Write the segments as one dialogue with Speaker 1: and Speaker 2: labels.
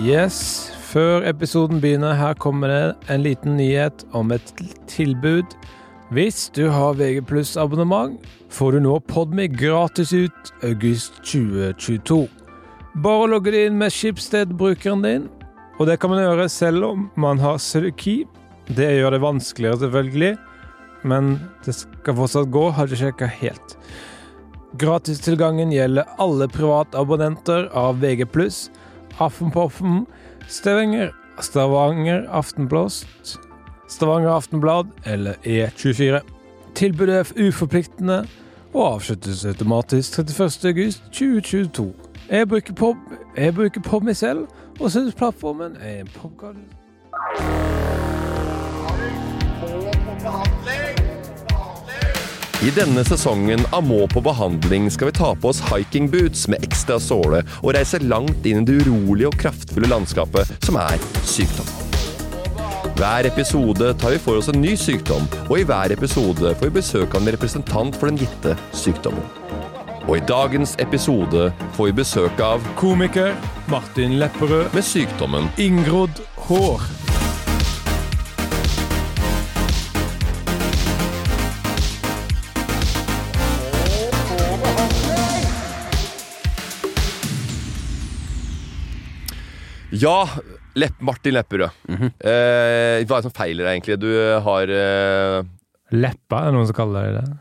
Speaker 1: Yes, før episoden begynner, her kommer det en liten nyhet om et tilbud. Hvis du har VG abonnement, får du nå Podme gratis ut august 2022. Bare logge det inn med Schibsted-brukeren din, og det kan man gjøre selv om man har Suzuki. Det gjør det vanskeligere, selvfølgelig, men det skal fortsatt gå, har du sjekka helt. Gratistilgangen gjelder alle privatabonnenter av VG+, Aftenpoffen, Stavanger, Stavanger Aftenblåst, Stavanger Aftenblad eller E24. Tilbudet er uforpliktende og avsluttes automatisk 31. august 2022. Jeg bruker pop, jeg bruker pop meg selv, og synes plattformen er en popkall.
Speaker 2: I denne sesongen av Må på behandling skal vi ta på oss hikingboots med ekstra såle og reise langt inn i det urolige og kraftfulle landskapet som er sykdom. Hver episode tar vi for oss en ny sykdom, og i hver episode får vi besøk av en representant for den gitte sykdommen. Og i dagens episode får vi besøk av
Speaker 1: Komiker Martin Lepperød.
Speaker 2: med sykdommen
Speaker 1: Inngrodd hår.
Speaker 2: Ja, Lepp Martin Lepperød. eh, hva er det som feiler deg, egentlig? Du har eh,
Speaker 1: Leppa, er det noen som kaller det det?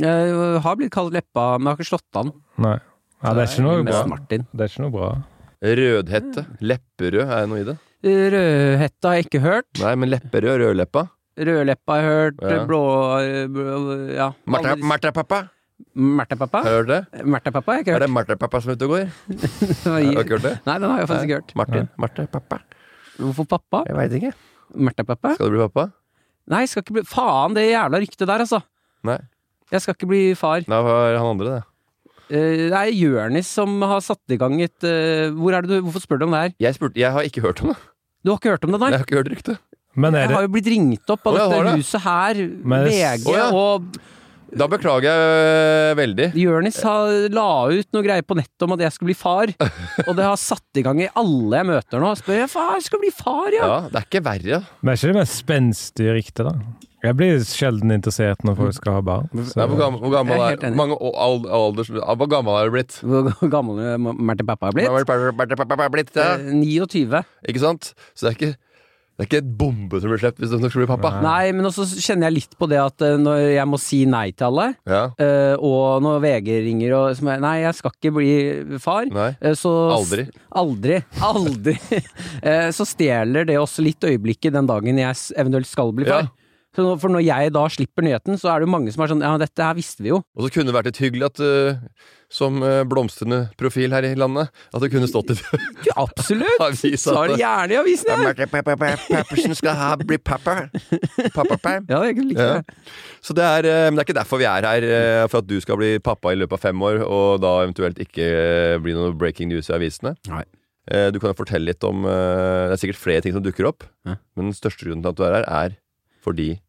Speaker 3: Jeg øh, har blitt kalt Leppa, men jeg har ikke slått an.
Speaker 1: Nei. Ja, det er ikke noe bra.
Speaker 3: Mest Martin.
Speaker 1: Det er ikke noe bra.
Speaker 2: rødhette. Lepperød, er det noe i det?
Speaker 3: Rødhette har jeg ikke hørt.
Speaker 2: Nei, men Lepperød, rødleppa.
Speaker 3: Rødleppa har jeg hørt.
Speaker 2: Ja.
Speaker 3: Blå... øh, blå- Ja.
Speaker 2: Martha,
Speaker 3: alle disse-
Speaker 2: Martha Pappa!
Speaker 3: Mertapappa?
Speaker 2: Hører du det?
Speaker 3: Mertapappa har jeg ikke
Speaker 2: Er
Speaker 3: hørt.
Speaker 2: det Martha Pappa som er ute og går?
Speaker 3: Nei,
Speaker 2: Har du ikke hørt det?
Speaker 3: Nei, den har jeg faktisk ikke hørt.
Speaker 2: Martin. Martha Pappa.
Speaker 3: Hvorfor pappa?
Speaker 2: Jeg veit ikke.
Speaker 3: Mertapappa?
Speaker 2: Skal du bli pappa?
Speaker 3: Nei, skal ikke bli Faen, det jævla ryktet der, altså.
Speaker 2: Nei.
Speaker 3: Jeg skal ikke bli far.
Speaker 2: Nei, hva er han andre, det?
Speaker 3: Eh, Det er Jørnis som har satt i gang et eh, Hvor er det du Hvorfor spør du om det her?
Speaker 2: Jeg spurte Jeg har ikke hørt om det.
Speaker 3: Du har ikke hørt om det,
Speaker 2: Jeg
Speaker 3: nei?
Speaker 2: har ikke hørt ryktet.
Speaker 1: Men
Speaker 3: Jeg
Speaker 1: er det
Speaker 3: har jo blitt ringt opp av
Speaker 2: Å, jeg har
Speaker 3: dette
Speaker 2: det.
Speaker 3: huset her,
Speaker 1: Men-
Speaker 3: VG
Speaker 2: Å, ja.
Speaker 3: og
Speaker 2: Da beklager jeg øh, veldig.
Speaker 3: Jørnis har- la ut noe greier på nettet om at jeg skulle bli far, og det har satt i gang i alle jeg møter nå. Spør jeg faen, jeg skal bli far, ja!
Speaker 2: Ja, det er ikke verre. altså.
Speaker 1: Men er ikke det mest spenstige riktet, da? Jeg blir sjelden interessert når folk skal ha barn.
Speaker 2: Nei, hvor gammel, hvor gammel
Speaker 3: Jeg er
Speaker 2: er,
Speaker 3: helt enig.
Speaker 2: mange å- al- alders, Hvor gammel er du blitt?
Speaker 3: Hvor gammel er Martin Pappa er blitt?
Speaker 2: Hvor gammel er Martha Pappa blitt ja.
Speaker 3: Eh, 29.
Speaker 2: Ikke sant? Så det er ikke Det er ikke et bombe som blir sluppet hvis du nok skal bli pappa.
Speaker 3: Nei, men også kjenner jeg litt på det at eh, når jeg må si nei til alle,
Speaker 2: Ja.
Speaker 3: eh, og når VG ringer og som er, Nei, jeg skal ikke bli far.
Speaker 2: Nei.
Speaker 3: eh, Så,
Speaker 2: Aldri.
Speaker 3: Aldri. Aldri. Eh, så stjeler det også litt øyeblikket den dagen jeg s- eventuelt skal bli
Speaker 2: Ja.
Speaker 3: far. Så nå- for når jeg da slipper nyheten, så er det jo mange som er sånn Ja, dette her visste vi jo.
Speaker 2: Og så kunne det vært litt hyggelig at øh, som øh, blomstrende profil her i landet, at det kunne stått i
Speaker 3: Du, absolutt!
Speaker 2: avisa.
Speaker 3: Så er det gjerne i avisene!
Speaker 2: Peppersen skal ha, bli pappa. Pappa-pam.
Speaker 3: Ja, jeg liker
Speaker 2: Ja.
Speaker 3: det.
Speaker 2: Så det er, eh, men det er ikke derfor vi er her, eh, for at du skal bli pappa i løpet av fem år, og da eventuelt ikke eh, bli noe breaking news i avisene.
Speaker 3: Nei.
Speaker 2: Eh, Du kan jo fortelle litt om eh, Det er sikkert flere ting som dukker opp,
Speaker 3: Ja.
Speaker 2: men den største grunnen til at du er her, er fordi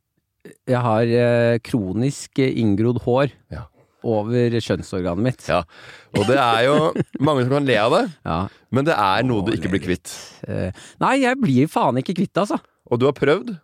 Speaker 3: Jeg har eh, kronisk eh, inngrodd hår
Speaker 2: Ja.
Speaker 3: over kjønnsorganet mitt.
Speaker 2: Ja. Og det er jo mange som kan le av det,
Speaker 3: Ja.
Speaker 2: men det er noe du
Speaker 3: Å,
Speaker 2: ikke blir kvitt.
Speaker 3: Eh, Nei, jeg blir faen ikke kvitt det, altså.
Speaker 2: Og du har prøvd.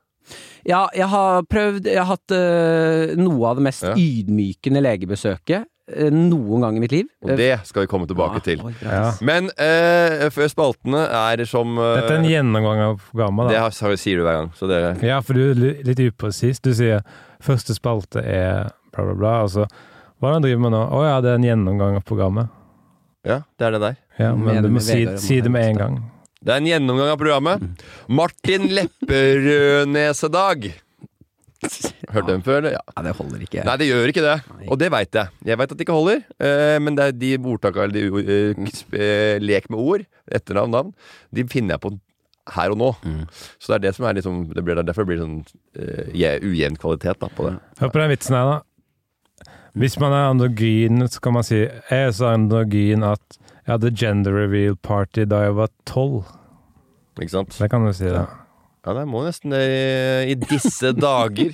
Speaker 3: Ja, jeg har prøvd Jeg har hatt eh, noe av det mest
Speaker 2: Ja.
Speaker 3: ydmykende legebesøket eh, noen gang i mitt liv. Eh,
Speaker 2: Og det skal vi komme tilbake til.
Speaker 1: Ja.
Speaker 2: Men eh, før spaltene er som eh,
Speaker 1: Dette er en gjennomgang av programmet,
Speaker 2: Det
Speaker 1: da.
Speaker 2: har- sier du hver gang. Så det,
Speaker 1: Ja, for du er li- litt upresis. Du sier første spalte er bla, bla, bla. Altså, Og så Hvordan driver vi nå? Å ja, det er en gjennomgang av programmet.
Speaker 2: ja, det er det der.
Speaker 1: Ja, men
Speaker 3: Mener
Speaker 1: du må
Speaker 3: med
Speaker 1: si,
Speaker 3: Mm, Vegard og
Speaker 1: si det med en
Speaker 3: Martin.
Speaker 1: gang.
Speaker 2: Det er en gjennomgang av programmet. Martin Lepperødnesedag. Hørt den før, eller? Ja.
Speaker 3: Nei, det holder ikke.
Speaker 2: Nei, det gjør ikke det.
Speaker 3: Nei.
Speaker 2: Og det veit jeg. Jeg veit at det ikke holder. eh, Men det er de ordtaka eller de ord- eh, sp- eh, lek med ord, etternavn, navn, de finner jeg på her og nå. Så det er det som er liksom det blir, Derfor blir det sånn eh, je- ujevn kvalitet da, på det.
Speaker 1: Hør på den vitsen her, da. Hvis man er androgyn, så kan man si Jeg er så androgyn at jeg hadde gender reveal party da jeg var tolv.
Speaker 2: Ikke sant?
Speaker 1: Det kan du si, da.
Speaker 2: Ja, det må nesten det i disse eh, dager.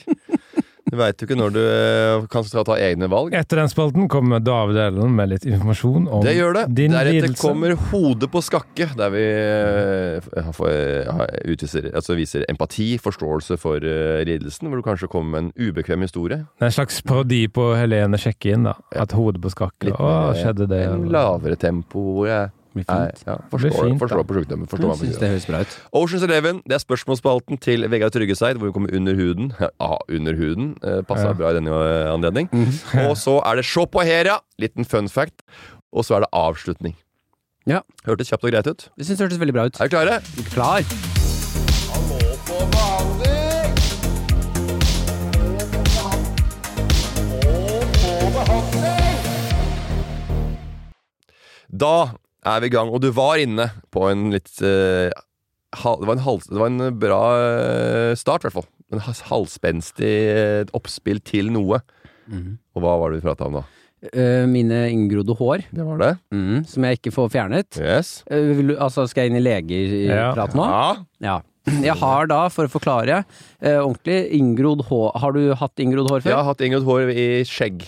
Speaker 2: Du veit jo ikke når du eh, kan skal ta egne valg.
Speaker 1: Etter den spalten kommer David Ellen med litt informasjon om
Speaker 2: Det gjør det.
Speaker 1: din
Speaker 2: Deretter
Speaker 1: lidelse.
Speaker 2: kommer Hodet på skakke, der vi eh, har- får- har- utviser, altså viser empati, forståelse for eh, lidelsen, hvor du kanskje kommer med en ubekvem historie.
Speaker 1: Det er en slags parodi på Helene sjekke inn, da. At hodet på skakke.
Speaker 2: Litt
Speaker 1: Å,
Speaker 2: mer,
Speaker 1: skjedde det?
Speaker 2: En
Speaker 1: eller?
Speaker 2: lavere tempo, hvor jeg
Speaker 3: Blir
Speaker 2: er,
Speaker 3: fint.
Speaker 2: ja, forstår,
Speaker 1: fint, da.
Speaker 2: forstår på sjukdommen. Forstår hva man
Speaker 3: Jeg synes
Speaker 2: gjør.
Speaker 3: det høres bra ut.
Speaker 2: Oceans Eleven, det er spørsmålsspalten til Vegard Tryggeseid, hvor vi kommer under huden. Ja, under huden. eh, Passer
Speaker 1: Ja.
Speaker 2: bra i denne eh, anledning. Og så er det Se på her, ja! Liten fun fact. Og så er det avslutning.
Speaker 3: Ja.
Speaker 2: Hørtes kjapt og greit ut.
Speaker 3: Jeg synes det hørtes veldig bra ut.
Speaker 2: Er dere klare?
Speaker 3: Klar.
Speaker 2: Da er vi i gang, og du var inne på en litt eh, hal, det, var en hals, det var en bra eh, start, i hvert fall. En hals- halvspenstig eh, oppspill til noe. Og hva var det vi prata om da?
Speaker 3: Eh, mine inngrodde hår,
Speaker 2: Det var det.
Speaker 3: mm, som jeg ikke får fjernet.
Speaker 2: Yes.
Speaker 3: Eh, vil du- altså, skal jeg inn i legeprat nå?
Speaker 2: Ja.
Speaker 3: Ja. Jeg har da, for å forklare eh, ordentlig, inngrodd hår Har du hatt inngrodd hår
Speaker 2: Jeg har
Speaker 3: før?
Speaker 2: hatt inngrodd hår i skjegg.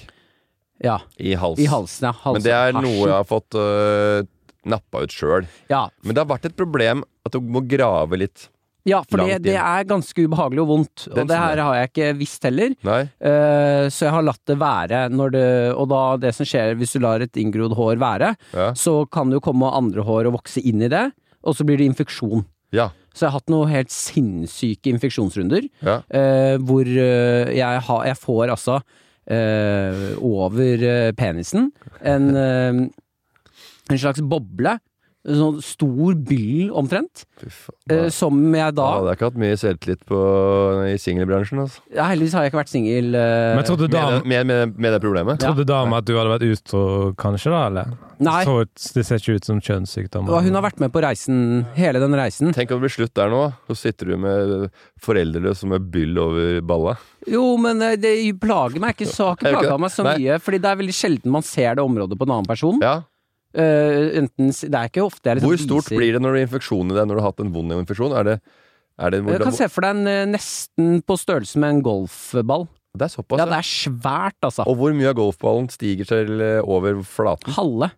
Speaker 3: Ja.
Speaker 2: I hals.
Speaker 3: I halsen, ja. Hals,
Speaker 2: Men det er
Speaker 3: hasjen.
Speaker 2: noe jeg har fått øh, nappa ut sjøl.
Speaker 3: Ja,
Speaker 2: Men det har vært et problem at du må grave litt.
Speaker 3: ja for det,
Speaker 2: Langt
Speaker 3: det
Speaker 2: inn.
Speaker 3: er ganske ubehagelig og vondt.
Speaker 2: Den
Speaker 3: og det
Speaker 2: som er.
Speaker 3: her har jeg ikke visst heller.
Speaker 2: Nei?
Speaker 3: Eh, så jeg har latt det være. Når det, og da det som skjer hvis du lar et inngrodd hår være,
Speaker 2: Ja.
Speaker 3: så kan det jo komme andre hår og vokse inn i det, og så blir det infeksjon.
Speaker 2: Ja.
Speaker 3: Så jeg har hatt noen helt sinnssyke infeksjonsrunder,
Speaker 2: ja.
Speaker 3: eh, hvor eh, jeg, har- jeg får altså eh, over eh, penisen en, eh, en slags boble, en sånn stor byll omtrent,
Speaker 2: Fy faen.
Speaker 3: eh,
Speaker 2: Nei.
Speaker 3: som jeg da
Speaker 2: Da hadde jeg ikke hatt mye selvtillit på, i singelbransjen. Altså.
Speaker 3: ja, Heldigvis har jeg ikke vært singel.
Speaker 1: Men jeg
Speaker 3: eh,
Speaker 1: trodde
Speaker 2: Med,
Speaker 1: dame,
Speaker 2: det- med, med, med det problemet.
Speaker 1: trodde dame at du hadde vært utro, kanskje, da? eller?
Speaker 3: Nei.
Speaker 1: Så ut- det ser ikke ut som kjønnssykdom.
Speaker 3: Og hun har vært med på reisen, hele den reisen.
Speaker 2: Tenk om det blir slutt der nå. Så sitter du med foreldre som er byll over balla.
Speaker 3: Jo, men eh, det plager meg ikke. Så
Speaker 2: Er
Speaker 3: har ikke
Speaker 2: det ikke
Speaker 3: plaga
Speaker 2: det?
Speaker 3: meg så
Speaker 2: Nei.
Speaker 3: mye. Fordi det er veldig sjelden man ser det området på en annen person.
Speaker 2: Ja.
Speaker 3: Eh, enten, s- det er ikke ofte jeg liksom
Speaker 2: Hvor stort
Speaker 3: viser-
Speaker 2: blir det når det er infeksjon i deg når du har hatt en vond infeksjon? Er det, er det,
Speaker 3: Jeg kan se for deg en eh, nesten på størrelse med en golfball.
Speaker 2: det er såpass,
Speaker 3: Ja,
Speaker 2: ja.
Speaker 3: det er svært, altså.
Speaker 2: Og hvor mye av golfballen stiger til eh, over flaten?
Speaker 3: Halve.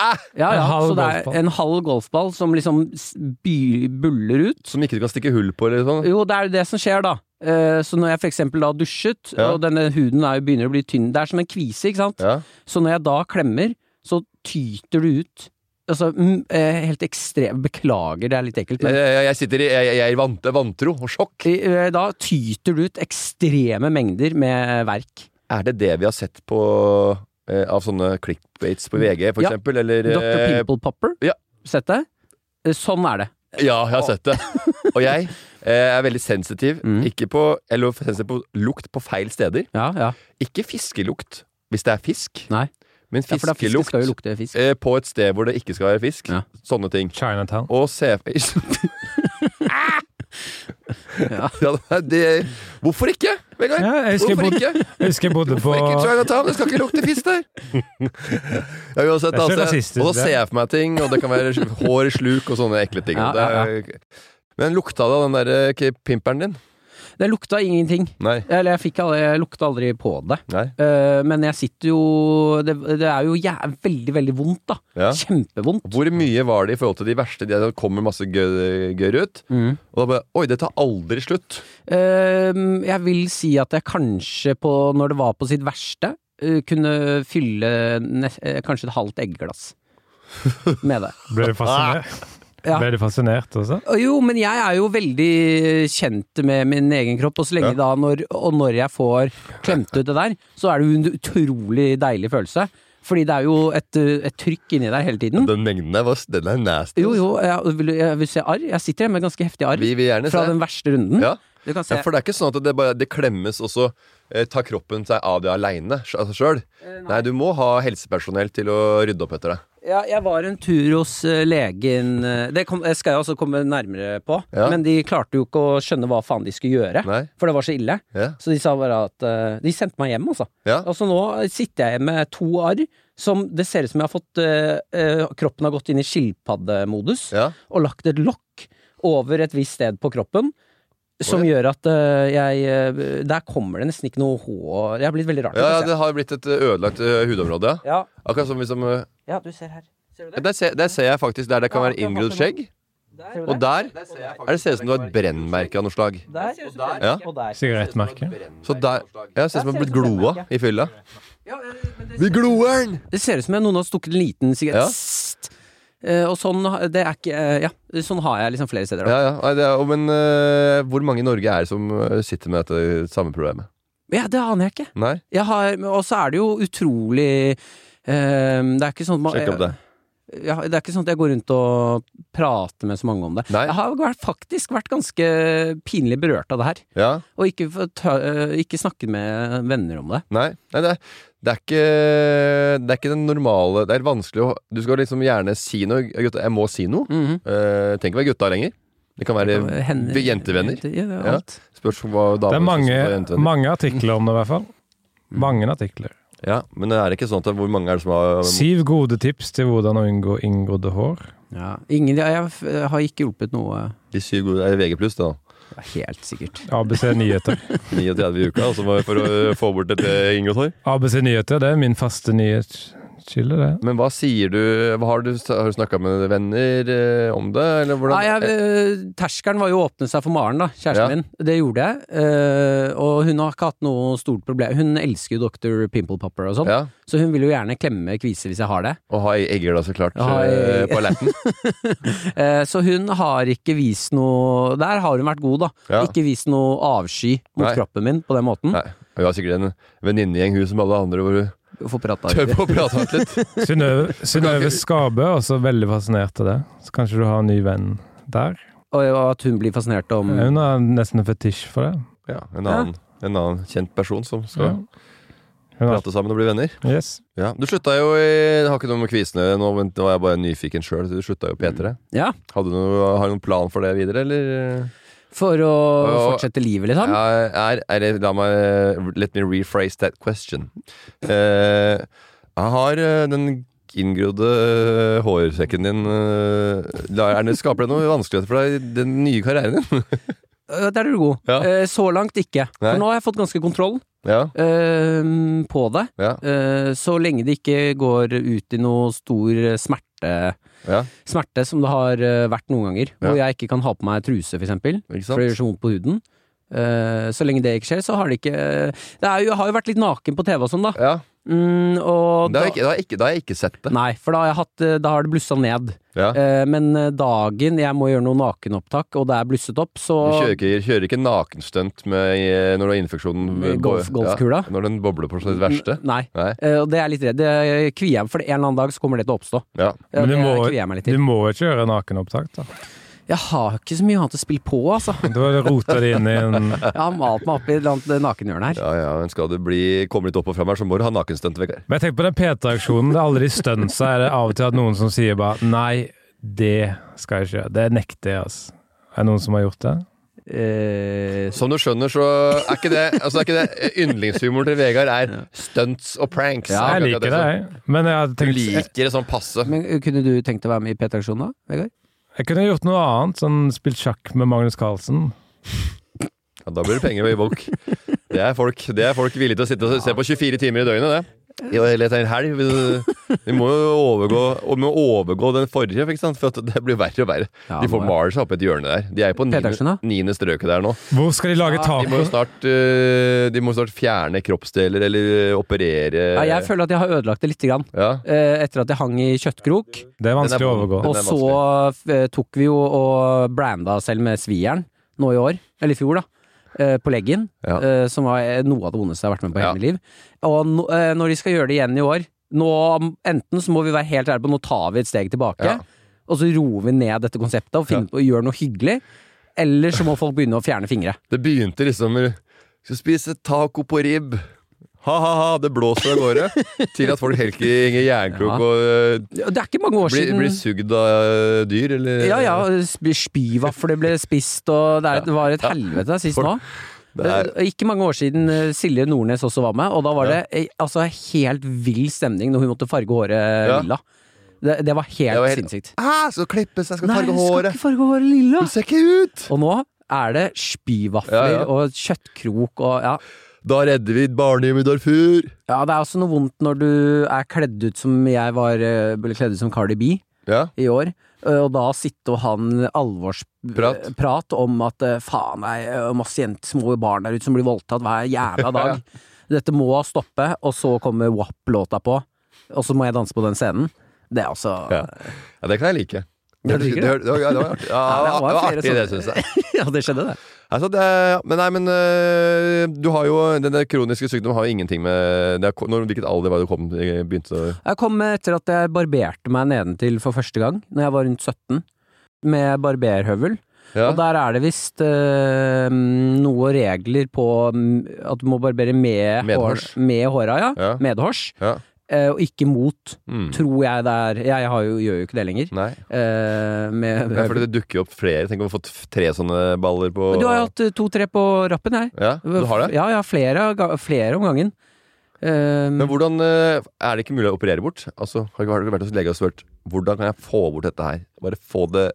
Speaker 2: Ah!
Speaker 3: Ja,
Speaker 1: En
Speaker 3: ja.
Speaker 1: halv
Speaker 3: Så det
Speaker 1: golfball.
Speaker 3: er en halv golfball som liksom s- by- buller ut.
Speaker 2: Som ikke du kan stikke hull på? eller sånn?
Speaker 3: Jo, det er jo det som skjer, da. Eh, Så når jeg for eksempel da dusjet,
Speaker 2: Ja.
Speaker 3: og denne huden er jo begynner å bli tynn Det er som en kvise, ikke sant?
Speaker 2: Ja.
Speaker 3: Så når jeg da klemmer, så tyter du ut. Altså, mm, eh, helt ekstremt Beklager, det er litt ekkelt,
Speaker 2: Jeg,
Speaker 3: men
Speaker 2: jeg- jeg sitter i jeg, jeg er i vant, vantro og sjokk.
Speaker 3: eh, da tyter du ut ekstreme mengder med verk.
Speaker 2: Er det det vi har sett på eh, av sånne clickbaits på VG, for
Speaker 3: Ja.
Speaker 2: eksempel? Eller
Speaker 3: Dr.
Speaker 2: eh,
Speaker 3: Pimple Popper,
Speaker 2: ja.
Speaker 3: sett det? Eh, Sånn er det.
Speaker 2: Ja, jeg har sett det. Og jeg eh, er veldig sensitiv.
Speaker 3: Mm.
Speaker 2: Ikke på, eller sensitiv på lukt på feil steder.
Speaker 3: Ja, ja.
Speaker 2: Ikke fiskelukt hvis det er fisk,
Speaker 3: Nei.
Speaker 2: men
Speaker 3: ja for da fisken
Speaker 2: fiskelukt
Speaker 3: skal jo lukte fisk.
Speaker 2: eh, på et sted hvor det ikke skal være fisk.
Speaker 3: Ja.
Speaker 2: Sånne ting.
Speaker 1: Chinatown.
Speaker 2: Og se ja. det, Hvorfor ikke, Vegard?
Speaker 1: Ja, jeg husker jeg
Speaker 2: Hvorfor
Speaker 1: bodde-
Speaker 2: ikke?
Speaker 1: Jeg husker jeg bodde på
Speaker 2: Ikke Chinatown, det skal ikke lukte fisk der! Ja, uansett,
Speaker 1: Det er så
Speaker 2: altså,
Speaker 1: rasistisk,
Speaker 2: og da
Speaker 1: det.
Speaker 2: ser jeg for meg ting, og det kan være hår i sluk og sånne ekle ting.
Speaker 3: Ja,
Speaker 2: Det er- Men lukta det av den der eh, k- pimperen din?
Speaker 3: Det lukta ingenting.
Speaker 2: Nei.
Speaker 3: Eller jeg, fikk aldri, jeg lukta aldri på det.
Speaker 2: Nei.
Speaker 3: Eh, men jeg sitter jo Det, det er jo jæ- veldig, veldig vondt, da.
Speaker 2: Ja.
Speaker 3: Kjempevondt.
Speaker 2: Hvor mye var det i forhold til de verste? Det kommer masse gøy, gøyere ut.
Speaker 3: Mm.
Speaker 2: Og da bare Oi, det tar aldri slutt!
Speaker 3: Ehm, jeg vil si at jeg kanskje på, når det var på sitt verste, eh, kunne fylle ne eh, kanskje et halvt eggeglass med det.
Speaker 1: Ble du fascinert?
Speaker 3: Ja.
Speaker 1: Ble du fascinert også?
Speaker 3: Og Jo, men jeg er jo veldig kjent med min egen kropp, og så lenge da, når, og når jeg får klemt ut det der, så er det jo en utrolig deilig følelse. Fordi det er jo et, eh, et trykk inni der hele tiden.
Speaker 2: Den mengden der, var, den er nasty. altså.
Speaker 3: Jo, jo, jeg vil, jeg vil se arr. Jeg sitter her med ganske heftig arr
Speaker 2: Vi vil gjerne
Speaker 3: fra
Speaker 2: se.
Speaker 3: den verste runden.
Speaker 2: Ja.
Speaker 3: Du kan se.
Speaker 2: Ja, for det er ikke sånn at det, bare, det klemmes, og så eh, tar kroppen seg av det aleine altså sjøl. nei. du må ha helsepersonell til å rydde opp etter deg.
Speaker 3: Ja, jeg var en tur hos eh, legen eh, Det kom, eh, skal jeg også komme nærmere på.
Speaker 2: Ja.
Speaker 3: Men de klarte jo ikke å skjønne hva faen de skulle gjøre.
Speaker 2: Nei?
Speaker 3: For det var så ille.
Speaker 2: Ja.
Speaker 3: Så de sa bare at eh, De sendte meg hjem, altså.
Speaker 2: ja.
Speaker 3: Altså nå sitter jeg med to arr som det ser ut som jeg har fått eh, eh, Kroppen har gått inn i skilpaddemodus
Speaker 2: ja.
Speaker 3: og lagt et lokk over et visst sted på kroppen. Som gjør at eh, jeg eh, Der kommer det nesten ikke noe hår Jeg har blitt veldig rart.
Speaker 2: Ja, ja,
Speaker 3: altså,
Speaker 2: det har blitt et eh, ødelagt ø, hudområde. ja.
Speaker 3: ja.
Speaker 2: Akkurat som hvis eh, om, ø,
Speaker 3: ja, du ser her. Ser du det?
Speaker 2: der, ser, der ser jeg faktisk der det kan være inngrodd skjegg.
Speaker 3: Ser du
Speaker 2: Og
Speaker 3: det?
Speaker 2: der er det ser ut som du har et brennmerke av noe slag.
Speaker 3: Der. Og der.
Speaker 2: Ja.
Speaker 3: Og der.
Speaker 1: Sigarettmerke.
Speaker 2: Så der Ja, det ser ut som du har blitt gloa i fylla. Vi gloer'n!
Speaker 3: Det ser ut som om noen har stukket en liten
Speaker 2: Ja.
Speaker 3: sigarett. Sst. Eh, og sånn, ha- det er ikke, eh, ja, sånn har jeg liksom flere steder. Da.
Speaker 2: Ja, ja. Nei, det er, og men ø, hvor mange i Norge er det som ø, sitter med dette samme problemet?
Speaker 3: Ja, det aner jeg ikke.
Speaker 2: Nei?
Speaker 3: Jeg har, og så er det jo utrolig eh, Det er ikke sånn at man-
Speaker 2: Sjekk opp det.
Speaker 3: Ja, det er ikke sånn at jeg går rundt og prater med så mange om det.
Speaker 2: Nei.
Speaker 3: Jeg har vært, faktisk vært ganske pinlig berørt av det her,
Speaker 2: Ja?
Speaker 3: og ikke, fått ta- eh, ikke snakket med venner om det.
Speaker 2: Nei, nei det, er- det er ikke Det er ikke den normale Det er vanskelig å Du skal liksom gjerne si noe Gutta, jeg må si noe
Speaker 3: Mhm.
Speaker 2: Eh, Tenk å være gutta lenger Det kan være
Speaker 3: Hen-
Speaker 2: vi- jentevenner
Speaker 3: Ja, det er
Speaker 2: Ja.
Speaker 3: alt.
Speaker 2: Spørs om hva damer
Speaker 1: Det er mange,
Speaker 2: synes om jentevenner.
Speaker 1: mange artikler om det, i hvert fall. Mange artikler.
Speaker 2: Ja, men det er ikke sånn at Hvor mange er det som har
Speaker 1: Syv gode tips til hvordan å unngå inngrodde hår.
Speaker 3: Ja. Ingen, jeg, jeg f- har ikke hjulpet noe,
Speaker 2: De syv gode er VG pluss da
Speaker 3: det er helt sikkert.
Speaker 1: ABC Nyheter.
Speaker 2: 39 i uka altså for- For å få bort et inngått hår
Speaker 1: ABC Nyheter, det er min faste nyhetskilde, det.
Speaker 2: Men hva sier du hva Har du, har du snakket med venner eh, om det? Eller hvordan
Speaker 3: Nei, jeg, eh, terskelen var jo å åpne seg for Maren, da, kjæresten
Speaker 2: Ja.
Speaker 3: min. Det gjorde jeg. eh, og hun har ikke hatt noe stort problem. Hun elsker jo Dr. Pimple Popper og sånn,
Speaker 2: Ja,
Speaker 3: så hun vil jo gjerne klemme kviser hvis jeg har det.
Speaker 2: og ha egger da så klart
Speaker 3: Ha
Speaker 2: eh,
Speaker 3: egg.
Speaker 2: På alerten
Speaker 3: Eh, Så hun har ikke vist noe Der har hun vært god, da.
Speaker 2: Ja.
Speaker 3: Ikke vist noe avsky mot
Speaker 2: Nei.
Speaker 3: kroppen min på den måten.
Speaker 2: Nei, hun har sikkert en venninnegjeng Hun som alle andre hvor hun
Speaker 3: Få prata
Speaker 2: tør på å prate litt
Speaker 1: Synnøve Synnøve Skabø er også veldig fascinert av det. Så kanskje du har en ny venn der? Eh,
Speaker 3: Og at hun blir fascinert om
Speaker 1: Hun har nesten en fetisj for det.
Speaker 2: Ja, en annen, en annen kjent person som
Speaker 1: Ja.
Speaker 2: skal
Speaker 1: Hun har,
Speaker 2: prate sammen og bli venner.
Speaker 1: yes.
Speaker 2: Ja. Du slutta jo i Det har ikke noe med kvisene nå, men nå var jeg bare nyfiken sjøl. Du slutta jo i P3.
Speaker 3: Ja,
Speaker 2: Hadde du noe, har du noen plan for det videre, eller?
Speaker 3: for å
Speaker 2: Og-
Speaker 3: fortsette livet, liksom.
Speaker 2: Ja, er, er, det- la meg Let me rephrase that question. Eh, jeg har eh, den inngrodde eh, hårsekken din eh, la- er det, Skaper det noen vanskeligheter for deg i den nye karrieren din?
Speaker 3: Eh, Der er du god.
Speaker 2: Ja.
Speaker 3: Eh, Så langt ikke.
Speaker 2: Nei.
Speaker 3: For nå har jeg fått ganske kontroll
Speaker 2: Ja,
Speaker 3: eh, på det.
Speaker 2: ja,
Speaker 3: Eh, Så lenge det ikke går ut i noe stor eh, smerte
Speaker 2: ja.
Speaker 3: Smerte som det har eh, vært noen ganger, hvor jeg ikke kan ha på meg truse, for eksempel.
Speaker 2: Ikke
Speaker 3: for det
Speaker 2: sant?
Speaker 3: gjør så vondt på huden. Eh, så lenge det ikke skjer, så har det ikke Det er jo, jeg har jo vært litt naken på TV og sånn, da.
Speaker 2: Ja.
Speaker 3: Mm, og
Speaker 2: Da har jeg ikke, da har jeg ikke, da har jeg ikke sett det.
Speaker 3: Nei, for da har, jeg hatt, eh, da har det blussa ned.
Speaker 2: Ja.
Speaker 3: Eh, men eh, dagen jeg må gjøre noe nakenopptak, og det er blusset opp, så
Speaker 2: Du kjører ikke, kjører ikke nakenstunt med, når du har infeksjonen
Speaker 3: Med golf- golfkula?
Speaker 2: Ja, når den bobler på sitt verste?
Speaker 3: N- Nei.
Speaker 2: Nei.
Speaker 3: Eh, og det er jeg litt redd. Det kvier jeg meg for. En eller annen dag så kommer det til å oppstå.
Speaker 2: Ja.
Speaker 3: Ja,
Speaker 1: Men du
Speaker 3: det
Speaker 1: må-
Speaker 3: kvier jeg meg litt
Speaker 1: Du
Speaker 3: til.
Speaker 1: må ikke gjøre nakenopptak, da.
Speaker 3: Jeg har ikke så mye annet å spille på, altså.
Speaker 1: Da roter de inn i en
Speaker 3: Jeg har malt meg opp i et eller annet nakenhjørne her.
Speaker 2: ja, ja, men skal du bli, komme litt opp og fram her, så må du ha nakenstunt, Vegard.
Speaker 1: Men jeg tenker på den PT-aksjonen. Det er alle de stunsa. Er det av og til at noen som sier bare Nei, det skal jeg ikke gjøre. Det nekter jeg, altså. Er det noen som har gjort det?
Speaker 3: Eh,
Speaker 2: Som du skjønner, så er ikke det, altså, er ikke det yndlingshumoren til Vegard er stunts og pranks.
Speaker 3: Ja, altså.
Speaker 1: jeg
Speaker 2: Er akkurat
Speaker 1: liker det,
Speaker 2: som-
Speaker 1: jeg. Men jeg hadde
Speaker 2: Du
Speaker 1: tenkt jeg,
Speaker 2: liker det sånn passe.
Speaker 3: men eh, kunne du tenkt å være med i PT-aksjonen da, Vegard?
Speaker 1: jeg kunne gjort noe annet, sånn spilt sjakk med Magnus Carlsen.
Speaker 2: Ja, da blir det penger ved folk. Det er folk, det er folk villige til å sitte og se på 24 timer i døgnet, det. Ja, Eller etter en helg. Vi- Vi må jo overgå, og vi må overgå den forrige, ikke sant? for at det blir verre og verre.
Speaker 3: Ja,
Speaker 2: De får
Speaker 3: må jeg.
Speaker 2: maler seg opp i et hjørne der. De er på
Speaker 3: Petersen, da?
Speaker 2: niende, niende strøket der nå.
Speaker 1: Hvor skal de lage
Speaker 2: De må
Speaker 1: taco?
Speaker 2: jo snart, eh, de må snart fjerne kroppsdeler eller eh, operere
Speaker 3: Ja, jeg føler at jeg har ødelagt det lite grann.
Speaker 2: Ja.
Speaker 3: eh, etter at jeg hang i kjøttkrok.
Speaker 1: Det er vanskelig å
Speaker 2: Den er på-
Speaker 1: overgå.
Speaker 2: den-
Speaker 3: Og
Speaker 2: er
Speaker 3: så eh, tok vi jo og branda selv med svijern nå i år, eller i fjor, da. eh, På leggen,
Speaker 2: Ja.
Speaker 3: eh, som var eh, noe av det vondeste jeg har vært med på i
Speaker 2: Ja.
Speaker 3: hele mitt liv. Og nå- eh, når de skal gjøre det igjen i år nå, Enten så må vi være helt ærlige på nå tar vi et steg tilbake,
Speaker 2: Ja.
Speaker 3: og så roer vi ned dette konseptet og, finner på, og gjør noe hyggelig. Eller så må folk begynne å fjerne fingre.
Speaker 2: Det begynte liksom med Skal spise taco på ribb. Ha-ha-ha, det blåser av gårde. Til at folk helt i jernkrok
Speaker 3: Ja.
Speaker 2: og eh,
Speaker 3: Det er ikke mange år
Speaker 2: blir,
Speaker 3: siden
Speaker 2: blir sugd av eh, dyr, eller
Speaker 3: Ja, ja, sp- spyvafler ble spist, og det, er, det var et helvete der sist nå.
Speaker 2: Det er,
Speaker 3: Eh, Ikke mange år siden eh, Silje Nordnes også var med, og da var det eh, altså, helt vill stemning når hun måtte farge håret
Speaker 2: Ja.
Speaker 3: lilla. Det, det var helt
Speaker 2: var helt-
Speaker 3: sinnssykt.
Speaker 2: Ah, skal klippe seg, skal
Speaker 3: Nei,
Speaker 2: farge
Speaker 3: jeg skal
Speaker 2: håret.
Speaker 3: ikke farge håret lilla!
Speaker 2: Hun ser ikke ut!
Speaker 3: Og nå er det spyvafler
Speaker 2: Ja, ja.
Speaker 3: og kjøttkrok og ja.
Speaker 2: Da redder vi barnehjemmet i Darfur!
Speaker 3: ja. Det er også noe vondt når du er kledd ut som jeg var, eh, ble kledd ut som Cardi B
Speaker 2: Ja.
Speaker 3: i år. eh, Og da sitte og ha en alvorsprat
Speaker 2: Prat.
Speaker 3: om at eh, faen, det er eh, masse jent- små barn der ute som blir voldtatt hver jævla dag. Dette må stoppe. Og så kommer WAP-låta på, og så må jeg danse på den scenen. Det er altså
Speaker 2: Ja. ja, det kan jeg like.
Speaker 3: Ja, du liker det?
Speaker 2: Det, var- ja, det var artig, ja,
Speaker 3: Ja,
Speaker 2: det var
Speaker 3: flere
Speaker 2: artig det,
Speaker 3: sånne-
Speaker 2: syns jeg.
Speaker 3: ja, det skjedde, det.
Speaker 2: Altså, det, men nei, men øh, du har jo Denne kroniske sykdommen har jo ingenting med det er, når, Hvilket alder var det du kom eh, begynte å
Speaker 3: Jeg kom etter at jeg barberte meg nedentil for første gang, når jeg var rundt 17, med barberhøvel.
Speaker 2: ja.
Speaker 3: Og der er det visst eh, noen regler på mm, at du må barbere med,
Speaker 2: Medhårs.
Speaker 3: hår- med håra, ja.
Speaker 2: Ja.
Speaker 3: Medhårs.
Speaker 2: ja.
Speaker 3: eh, og ikke mot,
Speaker 2: Mm.
Speaker 3: tror jeg det er. Jeg har jo, gjør jo ikke det lenger.
Speaker 2: Nei.
Speaker 3: Eh, med,
Speaker 2: Nei, fordi det dukker jo opp flere. Tenk om vi har fått tre sånne baller på
Speaker 3: Men du har jo hatt eh, to-tre på rappen, jeg.
Speaker 2: Ja, du har det?
Speaker 3: Ja, ja, flere, ga- flere om gangen. Eh,
Speaker 1: Mm.
Speaker 2: Men hvordan øh, Er det ikke mulig å operere bort? Altså, har du- har du vært hos lege og spurt hvordan kan jeg få bort dette her? Bare få det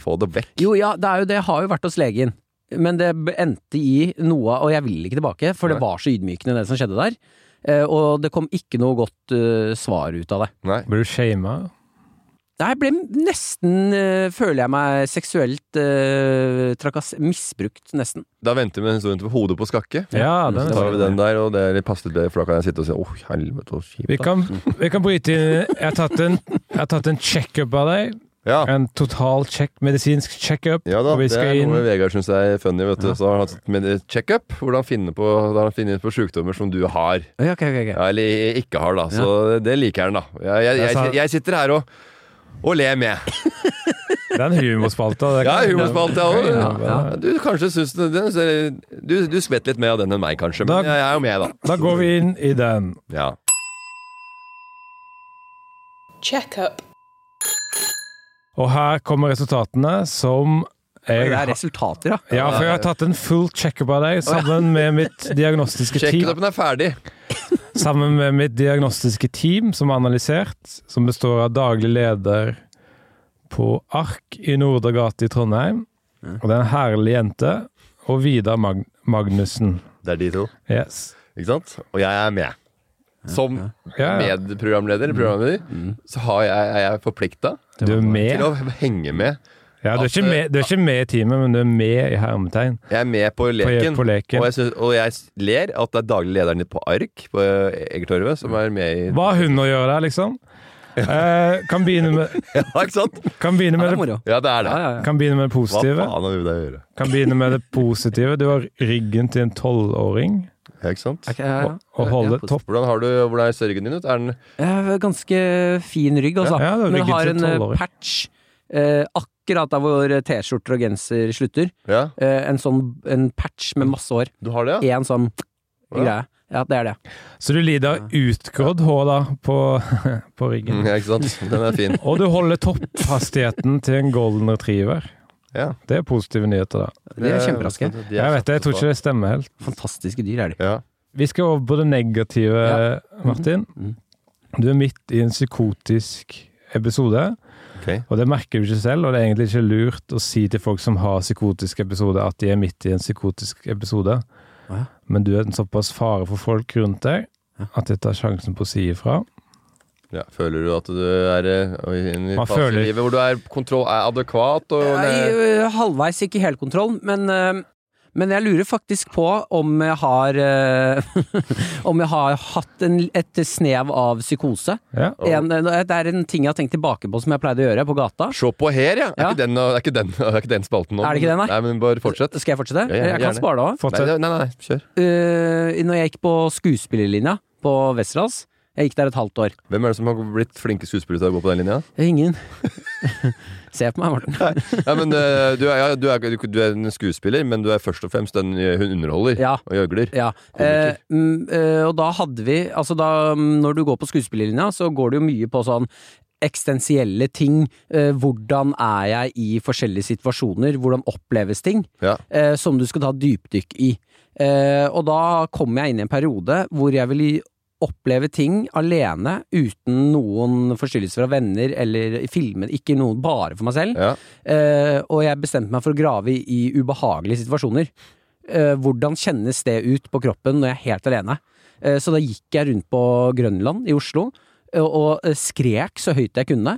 Speaker 2: Få det vekk.
Speaker 3: Jo, ja, det er jo det. Jeg har jo vært hos legen. Men det b- endte i noe, og jeg vil ikke tilbake, for det
Speaker 2: Nei.
Speaker 3: var så ydmykende det som skjedde der. Eh, og det kom ikke noe godt eh, svar ut av det.
Speaker 2: Nei.
Speaker 1: Blir du shama?
Speaker 3: Jeg ble nesten, eh, føler jeg meg seksuelt uh, trakass... Misbrukt, nesten.
Speaker 2: Da venter vi med historien til hodet på skakke.
Speaker 1: Ja,
Speaker 2: Så
Speaker 1: den
Speaker 2: tar vi
Speaker 1: er
Speaker 2: den der, og det er litt passelig, det, for da kan jeg sitte og si åh, helvete, så
Speaker 1: vi
Speaker 2: kjipt. da».
Speaker 1: kan, vi kan bryte inn Jeg har tatt en, jeg har tatt en checkup av deg.
Speaker 2: Ja.
Speaker 1: En total check, medisinsk checkup.
Speaker 2: Ja da,
Speaker 1: og vi
Speaker 2: det
Speaker 1: skal
Speaker 2: er
Speaker 1: inn
Speaker 2: noe Vegard syns er funny. vet du Så har han hatt med check-up. Hvordan finne på, da har han funnet på sykdommer som du har,
Speaker 3: Ja, ok, ok, ok.
Speaker 2: ja, eller ikke har. da Så det liker han, da. Jeg, jeg,
Speaker 1: Jeg
Speaker 2: jeg,
Speaker 1: sa-
Speaker 2: jeg sitter her og, og ler med.
Speaker 1: Den humorspalta. det
Speaker 2: Ja,
Speaker 1: kan-
Speaker 2: humorspalt, jeg
Speaker 1: Ja,
Speaker 2: òg.
Speaker 1: ja.
Speaker 2: Du kanskje syns den, den ser- Du, du skvett litt mer av den enn meg, kanskje. Men
Speaker 1: Da-
Speaker 2: jeg er jo med, da.
Speaker 1: Da går vi inn i den.
Speaker 2: Ja.
Speaker 4: Checkup.
Speaker 1: Og her kommer resultatene som jeg
Speaker 3: Det er resultater, ja.
Speaker 1: Ja, for jeg har tatt en full checkup av deg sammen med mitt diagnostiske team.
Speaker 2: Check-upen er ferdig.
Speaker 1: Sammen med mitt diagnostiske team som er analysert, som består av daglig leder på Ark i Nordre gate i Trondheim. Og det er en herlig jente. Og Vidar Mag Magnussen.
Speaker 2: Det er de to,
Speaker 1: Yes.
Speaker 2: ikke sant? Og jeg er med. Som
Speaker 1: Ja, ja.
Speaker 2: medprogramleder, eller programleder, så har jeg, er jeg forplikta
Speaker 1: Du er
Speaker 2: til
Speaker 1: med.
Speaker 2: å henge med.
Speaker 1: Ja, du, er ikke med. du er ikke med i teamet, men du er med i hermetegn.
Speaker 2: Jeg er med på leken,
Speaker 1: på leken.
Speaker 2: Og, jeg synes, og jeg ler at det er daglig lederen på ARK på Egertorvet som er med i
Speaker 1: Hva har hun å gjøre der, liksom? Eh, kan begynne med,
Speaker 2: Ja, ikke sant?
Speaker 1: kan begynne
Speaker 3: Ja,
Speaker 1: med
Speaker 3: det
Speaker 1: det
Speaker 3: er moro.
Speaker 2: Ja, det er det.
Speaker 3: Ja, ja, ja.
Speaker 1: Kan begynne med det
Speaker 2: Hva
Speaker 1: positive.
Speaker 2: faen har vi med det å gjøre?
Speaker 1: Kan begynne med det positive. Du har ryggen til en tolvåring.
Speaker 2: Ja, ikke sant?
Speaker 3: Ok, ja, ja.
Speaker 1: Og, og holde
Speaker 3: Ja,
Speaker 1: topp.
Speaker 2: Hvordan, har du, hvordan ser ryggen din ut? Er den
Speaker 3: Jeg har Ganske fin rygg,
Speaker 1: Ja,
Speaker 3: altså.
Speaker 1: ja, det er
Speaker 3: Men jeg
Speaker 1: ryggen
Speaker 3: har
Speaker 1: til
Speaker 3: en eh,
Speaker 1: 12-åring.
Speaker 3: patch eh, akkurat der hvor eh, T-skjorter og genser slutter.
Speaker 2: Ja,
Speaker 3: Eh, en sånn en patch med masse hår.
Speaker 2: du har det, ja?
Speaker 3: Én sånn
Speaker 2: Ja.
Speaker 3: greie. Ja, det er det.
Speaker 1: Så du lider av utgrådd hår da på, på
Speaker 2: Mm,
Speaker 1: ryggen.
Speaker 2: Ja, ikke sant? Den er fin.
Speaker 1: Og du holder topphastigheten til en golden retriever.
Speaker 2: Ja.
Speaker 1: Det er positive nyheter, da.
Speaker 3: De er kjemperaske.
Speaker 2: De er
Speaker 1: Jeg vet det, jeg tror ikke det stemmer helt.
Speaker 3: Fantastiske dyr er de.
Speaker 2: Ja.
Speaker 1: Vi skal over på det negative,
Speaker 3: Ja.
Speaker 1: Martin.
Speaker 3: Mhm.
Speaker 1: Du er midt i en psykotisk episode,
Speaker 2: Ok.
Speaker 1: og det merker du ikke selv. Og det er egentlig ikke lurt å si til folk som har psykotisk episode, at de er midt i en psykotisk episode.
Speaker 3: Ja.
Speaker 1: Men du er en såpass fare for folk rundt deg at jeg tar sjansen på å si ifra.
Speaker 2: Ja, føler du at du er eh, i en
Speaker 1: Man
Speaker 2: fase
Speaker 1: føler-
Speaker 2: i livet hvor du er, kontroll er adekvat og
Speaker 3: Jeg er jo eh, halvveis ikke helt kontroll, men eh, men jeg lurer faktisk på om jeg har eh, Om jeg har hatt en, et snev av psykose.
Speaker 1: Ja.
Speaker 3: En, eh, det er en ting jeg har tenkt tilbake på som jeg pleide å gjøre på gata.
Speaker 2: Se på her, ja! Er,
Speaker 3: Ja.
Speaker 2: Ikke den, er, ikke den, er ikke den spalten nå?
Speaker 3: Er det ikke den, nei?
Speaker 2: nei? nei men bare fortsett.
Speaker 3: Skal jeg fortsette?
Speaker 2: Ja, ja,
Speaker 3: jeg kan
Speaker 2: gjerne.
Speaker 3: spare det òg.
Speaker 2: Nei,
Speaker 1: Fortsett.
Speaker 2: nei, nei, nei, kjør.
Speaker 3: når jeg gikk på skuespillerlinja på Westerdals Jeg gikk der et halvt år. Eh,
Speaker 2: Hvem er det som har blitt flinke skuespillere til å gå på den linja?
Speaker 3: Ingen. Se på meg, Morten.
Speaker 2: Ja, men eh, du, er, ja, du, er, du er en skuespiller, men du er først og fremst den eh, hun underholder
Speaker 3: Ja.
Speaker 2: og gjøgler.
Speaker 3: Ja.
Speaker 2: Komiker.
Speaker 3: Eh, mm, eh, og da hadde vi Altså, da, mm, når du går på skuespillerlinja, så går det jo mye på sånn Eksistensielle ting. Eh, hvordan er jeg i forskjellige situasjoner? Hvordan oppleves ting?
Speaker 2: Ja.
Speaker 3: Eh, som du skal ta dypdykk i. Eh, og da kom jeg inn i en periode hvor jeg ville oppleve ting alene uten noen forstyrrelser fra venner eller filme, ikke noen bare for meg selv.
Speaker 2: Ja.
Speaker 3: Eh, og jeg bestemte meg for å grave i ubehagelige situasjoner. Eh, hvordan kjennes det ut på kroppen når jeg er helt alene? Eh, så da gikk jeg rundt på Grønland i Oslo eh, og eh, skrek så høyt jeg kunne.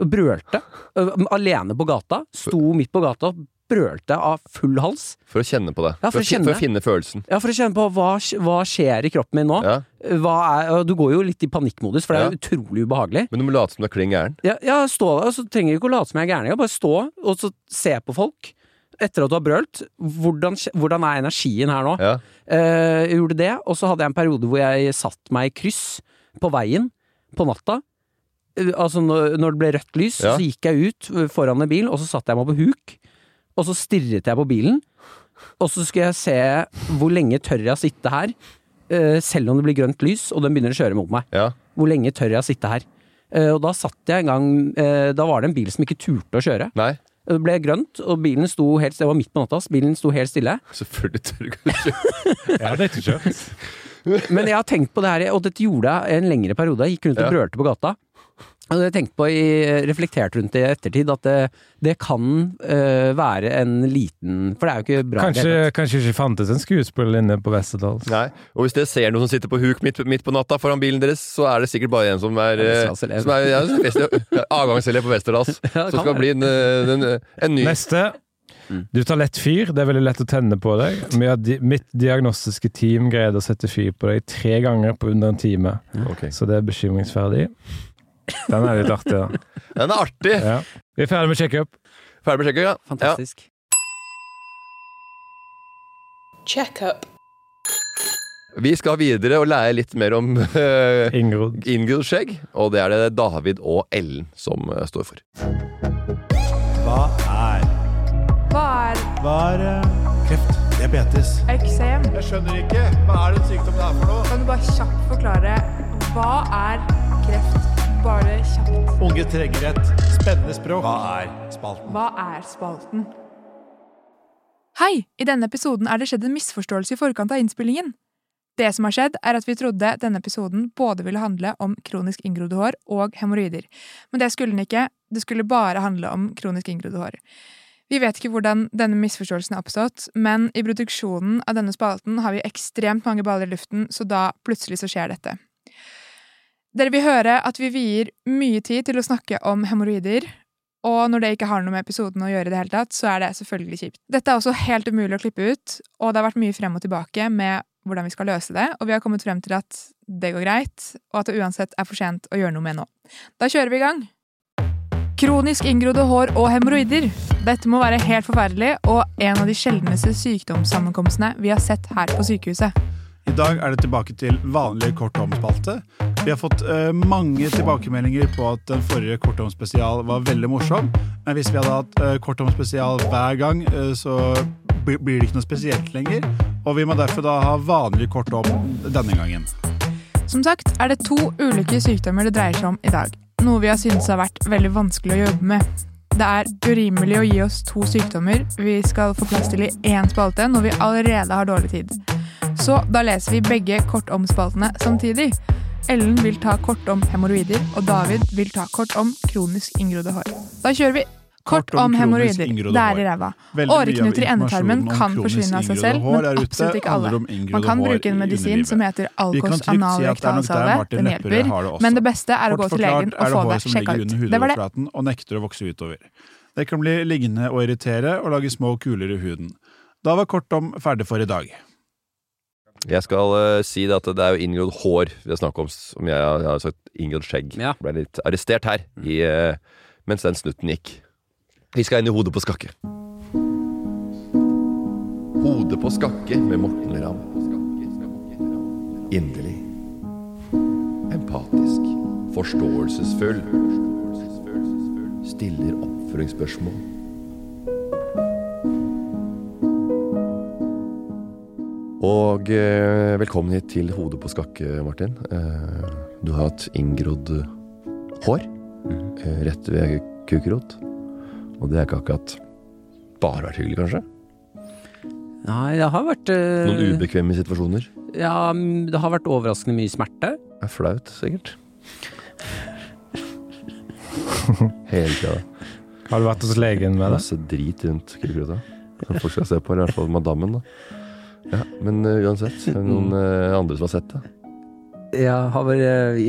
Speaker 3: Og brølte. eh, alene på gata. Sto midt på gata og brølte av full hals.
Speaker 2: For å kjenne på det.
Speaker 3: Ja, for å
Speaker 2: fi-
Speaker 3: kjenne.
Speaker 2: for å finne følelsen.
Speaker 3: Ja, For å kjenne på hva, hva skjer i kroppen min nå.
Speaker 2: Ja.
Speaker 3: Hva er, og du går jo litt i panikkmodus, for det er jo
Speaker 2: Ja.
Speaker 3: utrolig ubehagelig.
Speaker 2: Men du må late som du er klin gæren.
Speaker 3: Ja, ja stå der, og så trenger du ikke å late som jeg er gæren. engang. Bare stå og så se på folk etter at du har brølt. Hvordan, skje- hvordan er energien her nå?
Speaker 2: Ja.
Speaker 3: Eh, jeg gjorde det, og så hadde jeg en periode hvor jeg satt meg i kryss på veien på natta. Eh, Altså når når det ble rødt lys,
Speaker 2: Ja.
Speaker 3: så gikk jeg ut eh, foran en bil, og så satte jeg meg på huk. Og så stirret jeg på bilen, og så skulle jeg se hvor lenge tør jeg å sitte her, eh, selv om det blir grønt lys og den begynner å kjøre mot meg.
Speaker 2: ja.
Speaker 3: Hvor lenge tør jeg å sitte her? Eh, Og da satt jeg en gang eh, Da var det en bil som ikke turte å kjøre.
Speaker 2: Nei.
Speaker 3: Det ble grønt, og bilen sto helt Det var midt på natta, ass. bilen sto helt stille.
Speaker 2: Selvfølgelig tør du ikke å kjøre.
Speaker 1: Jeg hadde ikke kjørt.
Speaker 3: Men jeg har tenkt på det her, og dette gjorde jeg en lengre periode. Jeg gikk rundt og
Speaker 2: Ja.
Speaker 3: brølte på gata. Og jeg tenkte på, i, eh, reflektert rundt det i ettertid, at det, det kan eh, være en liten For det er jo ikke bra. i det
Speaker 1: Kanskje,
Speaker 3: hele tatt.
Speaker 1: kanskje ikke fantes en skuespillerinne på Westerdals.
Speaker 2: Nei. Og hvis dere ser noen som sitter på huk midt, midt på natta foran bilen deres, så er det sikkert bare en som er, eh,
Speaker 3: Vesterdalselev.
Speaker 2: som er ja, som er vest- ja, avgangselev på Westerdals.
Speaker 3: Ja, det
Speaker 2: som skal
Speaker 3: kan
Speaker 2: bli en, eh, den, eh, en ny
Speaker 1: Neste.
Speaker 2: Mm.
Speaker 1: Du tar lett fyr. Det er veldig lett å tenne på deg. Vi har di mitt diagnostiske team greide å sette fyr på deg tre ganger på under en time.
Speaker 2: Ok.
Speaker 1: Så det er bekymringsverdig. Den er litt artig, da.
Speaker 2: Den er artig!
Speaker 1: Ja. Vi er ferdig med checkup.
Speaker 2: Ferdig med sjekket, ja. ja.
Speaker 3: Fantastisk.
Speaker 4: checkup,
Speaker 2: Vi skal videre og lære litt mer om eh,
Speaker 1: Ingrid.
Speaker 2: Ingrid Skjegg, og det er det David og Ellen som eh, står for.
Speaker 5: Hva er
Speaker 6: Hva er
Speaker 5: Hva er eh, kreft? Diabetes?
Speaker 6: eksem?
Speaker 5: Jeg skjønner ikke. Hva er den sykdommen er for noe?
Speaker 6: Kan du bare kjapt forklare hva er kreft? Bare kjapt.
Speaker 5: Unge trenger et spennende språk. Hva er spalten?
Speaker 6: Hva er spalten? Hei! I denne episoden er det skjedd en misforståelse i forkant av innspillingen. Det som har skjedd, er at vi trodde denne episoden både ville handle om kronisk inngrodde hår og hemoroider. Men det skulle den ikke. Det skulle bare handle om kronisk inngrodde hår. Vi vet ikke hvordan denne misforståelsen har oppstått, men i produksjonen av denne spalten har vi ekstremt mange baller i luften, så da plutselig så skjer dette. Dere vil høre at vi vier mye tid til å snakke om hemoroider, og når det ikke har noe med episoden å gjøre, i det hele tatt, så er det selvfølgelig kjipt. Dette er også helt umulig å klippe ut, og det har vært mye frem og tilbake med hvordan vi skal løse det, og vi har kommet frem til at det går greit, og at det uansett er for sent å gjøre noe med nå. Da kjører vi i gang! Kronisk inngrodde hår og hemoroider. Dette må være helt forferdelig og en av de sjeldneste sykdomssammenkomstene vi har sett her på sykehuset.
Speaker 5: I dag er det tilbake til vanlig kortomspalte. Vi har fått eh, mange tilbakemeldinger på at den forrige kortomspesial var veldig morsom. Men hvis vi hadde hatt uh, kortomspesial hver gang, eh, så bli- blir det ikke noe spesielt lenger. Og vi må derfor da ha vanlig kortom denne gangen.
Speaker 6: Som sagt er det to ulike sykdommer det dreier seg om i dag, noe vi har syntes har vært veldig vanskelig å jobbe med. Det er urimelig å gi oss to sykdommer vi skal få plass til i én spalte når vi allerede har dårlig tid. Så da leser vi begge kort om spaltene samtidig. Ellen vil ta kort om hemoroider, og David vil ta kort om kronisk inngrodde hår. Da kjører vi! Kort
Speaker 5: Kort om
Speaker 6: om hemoroider.
Speaker 5: kronisk inngrodde
Speaker 6: Det er i
Speaker 5: hår.
Speaker 6: ræva.
Speaker 5: Veldig mye av
Speaker 6: Åreknuter i endetarmen
Speaker 5: informasjonen om
Speaker 6: kan
Speaker 5: kronisk
Speaker 6: forsvinne av seg
Speaker 5: inngrodde
Speaker 6: selv,
Speaker 5: hår
Speaker 6: men
Speaker 5: er ute,
Speaker 6: absolutt ikke alle.
Speaker 5: handler om inngrodde
Speaker 6: Man kan
Speaker 5: hår
Speaker 6: bruke en
Speaker 5: i
Speaker 6: medisin
Speaker 5: underlivet.
Speaker 6: som
Speaker 5: Vi
Speaker 6: heter
Speaker 5: kan
Speaker 6: Alkos
Speaker 5: trygt si at det er nok der
Speaker 6: analrektalsalve.
Speaker 5: Martin
Speaker 6: Den
Speaker 5: Lepperød
Speaker 6: hjelper,
Speaker 5: har det også.
Speaker 6: men det beste er å gå
Speaker 5: Kort
Speaker 6: til legen
Speaker 5: forklart
Speaker 6: og
Speaker 5: er
Speaker 6: få
Speaker 5: det
Speaker 6: det
Speaker 5: hår som
Speaker 6: sjekka
Speaker 5: ligger
Speaker 6: ut.
Speaker 5: under
Speaker 6: Det var det.
Speaker 5: hudoverflaten og nekter å vokse utover. Det kan bli liggende og irritere og lage små kuler i huden. Da var kort om ferdig for i dag.
Speaker 2: Jeg skal eh, si det at det er jo inngrodd hår vi har snakket om, som jeg, har- jeg har sagt inngrodd skjegg.
Speaker 3: Ja.
Speaker 2: Ble litt arrestert her i, eh, mens den snutten gikk. Vi skal inn i Hodet på skakke. Hodet på skakke med Morten Ramm. Inderlig. Empatisk. Forståelsesfull. Stiller oppføringsspørsmål. Og eh, velkommen hit til Hodet på skakke, Martin. Eh, du har hatt inngrodd hår eh, rett ved kukrot. Og det er ikke akkurat bare vært hyggelig, kanskje?
Speaker 3: Nei, det har vært eh,
Speaker 2: Noen ubekvemme situasjoner?
Speaker 3: Ja, mm, det har vært overraskende mye smerte.
Speaker 2: Det er flaut, sikkert. Hele tida.
Speaker 1: Har du vært hos legen med det?
Speaker 2: Masse drit rundt kukuta. Som folk skal se på, eller i hvert fall madammen. da. Ja, Men eh, uansett, er det noen eh, andre som har sett det?
Speaker 3: Ja, har eh, bare vi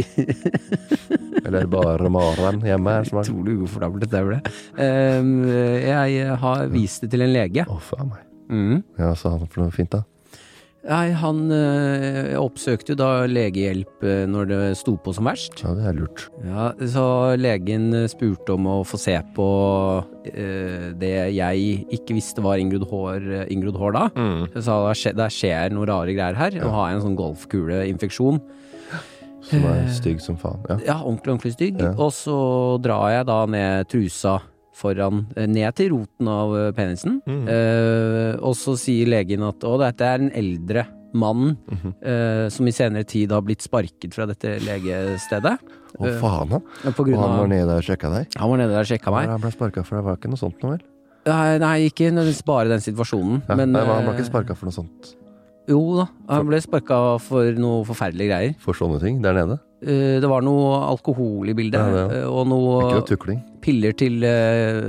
Speaker 2: Eller er det bare Maren hjemme her som har
Speaker 3: Utrolig ukomfortabelt dette ble. Ehm, Jeg har vist det til en lege.
Speaker 2: Å, faen meg.
Speaker 3: Mm.
Speaker 2: Ja, sa han for noe fint, da.
Speaker 3: Nei, han eh, oppsøkte jo da legehjelp eh, når det sto på som verst.
Speaker 2: Ja, det er lurt.
Speaker 3: Ja, så legen eh, spurte om å få se på eh, det jeg ikke visste var Ingrid Hår, eh, Ingrid Hår da. Jeg sa det skjer, det skjer noen rare greier her. Nå har jeg en sånn golfkuleinfeksjon.
Speaker 2: Som er
Speaker 3: Eh.
Speaker 2: stygg som faen. Ja.
Speaker 3: Ja, ordentlig, ordentlig stygg.
Speaker 2: Ja.
Speaker 3: Og så drar jeg da ned trusa foran, eh, ned til roten av eh, penisen.
Speaker 2: Mhm.
Speaker 3: Eh, og så sier legen at å, dette er en eldre mann
Speaker 2: Mhm.
Speaker 3: eh, som i senere tid har blitt sparket fra dette legestedet.
Speaker 2: Å, faen, han.
Speaker 3: eh, På
Speaker 2: Og
Speaker 3: grunn
Speaker 2: han
Speaker 3: av
Speaker 2: var nede og sjekka deg?
Speaker 3: Han var nede der og sjekka meg.
Speaker 2: Ja, Han ble sparka for det var ikke noe sånt noe, vel?
Speaker 3: Nei, nei, ikke nødvendigvis bare den situasjonen.
Speaker 2: Ja,
Speaker 3: men
Speaker 2: nei, men han ble
Speaker 3: eh,
Speaker 2: ikke sparka for noe sånt.
Speaker 3: Jo da, han ble sparka for noe forferdelige greier.
Speaker 2: For sånne ting der nede?
Speaker 3: Eh, det var noe alkohol i bildet,
Speaker 2: Ja, ja.
Speaker 3: eh, og
Speaker 2: Ikke
Speaker 3: noe
Speaker 2: noe tukling.
Speaker 3: piller til eh,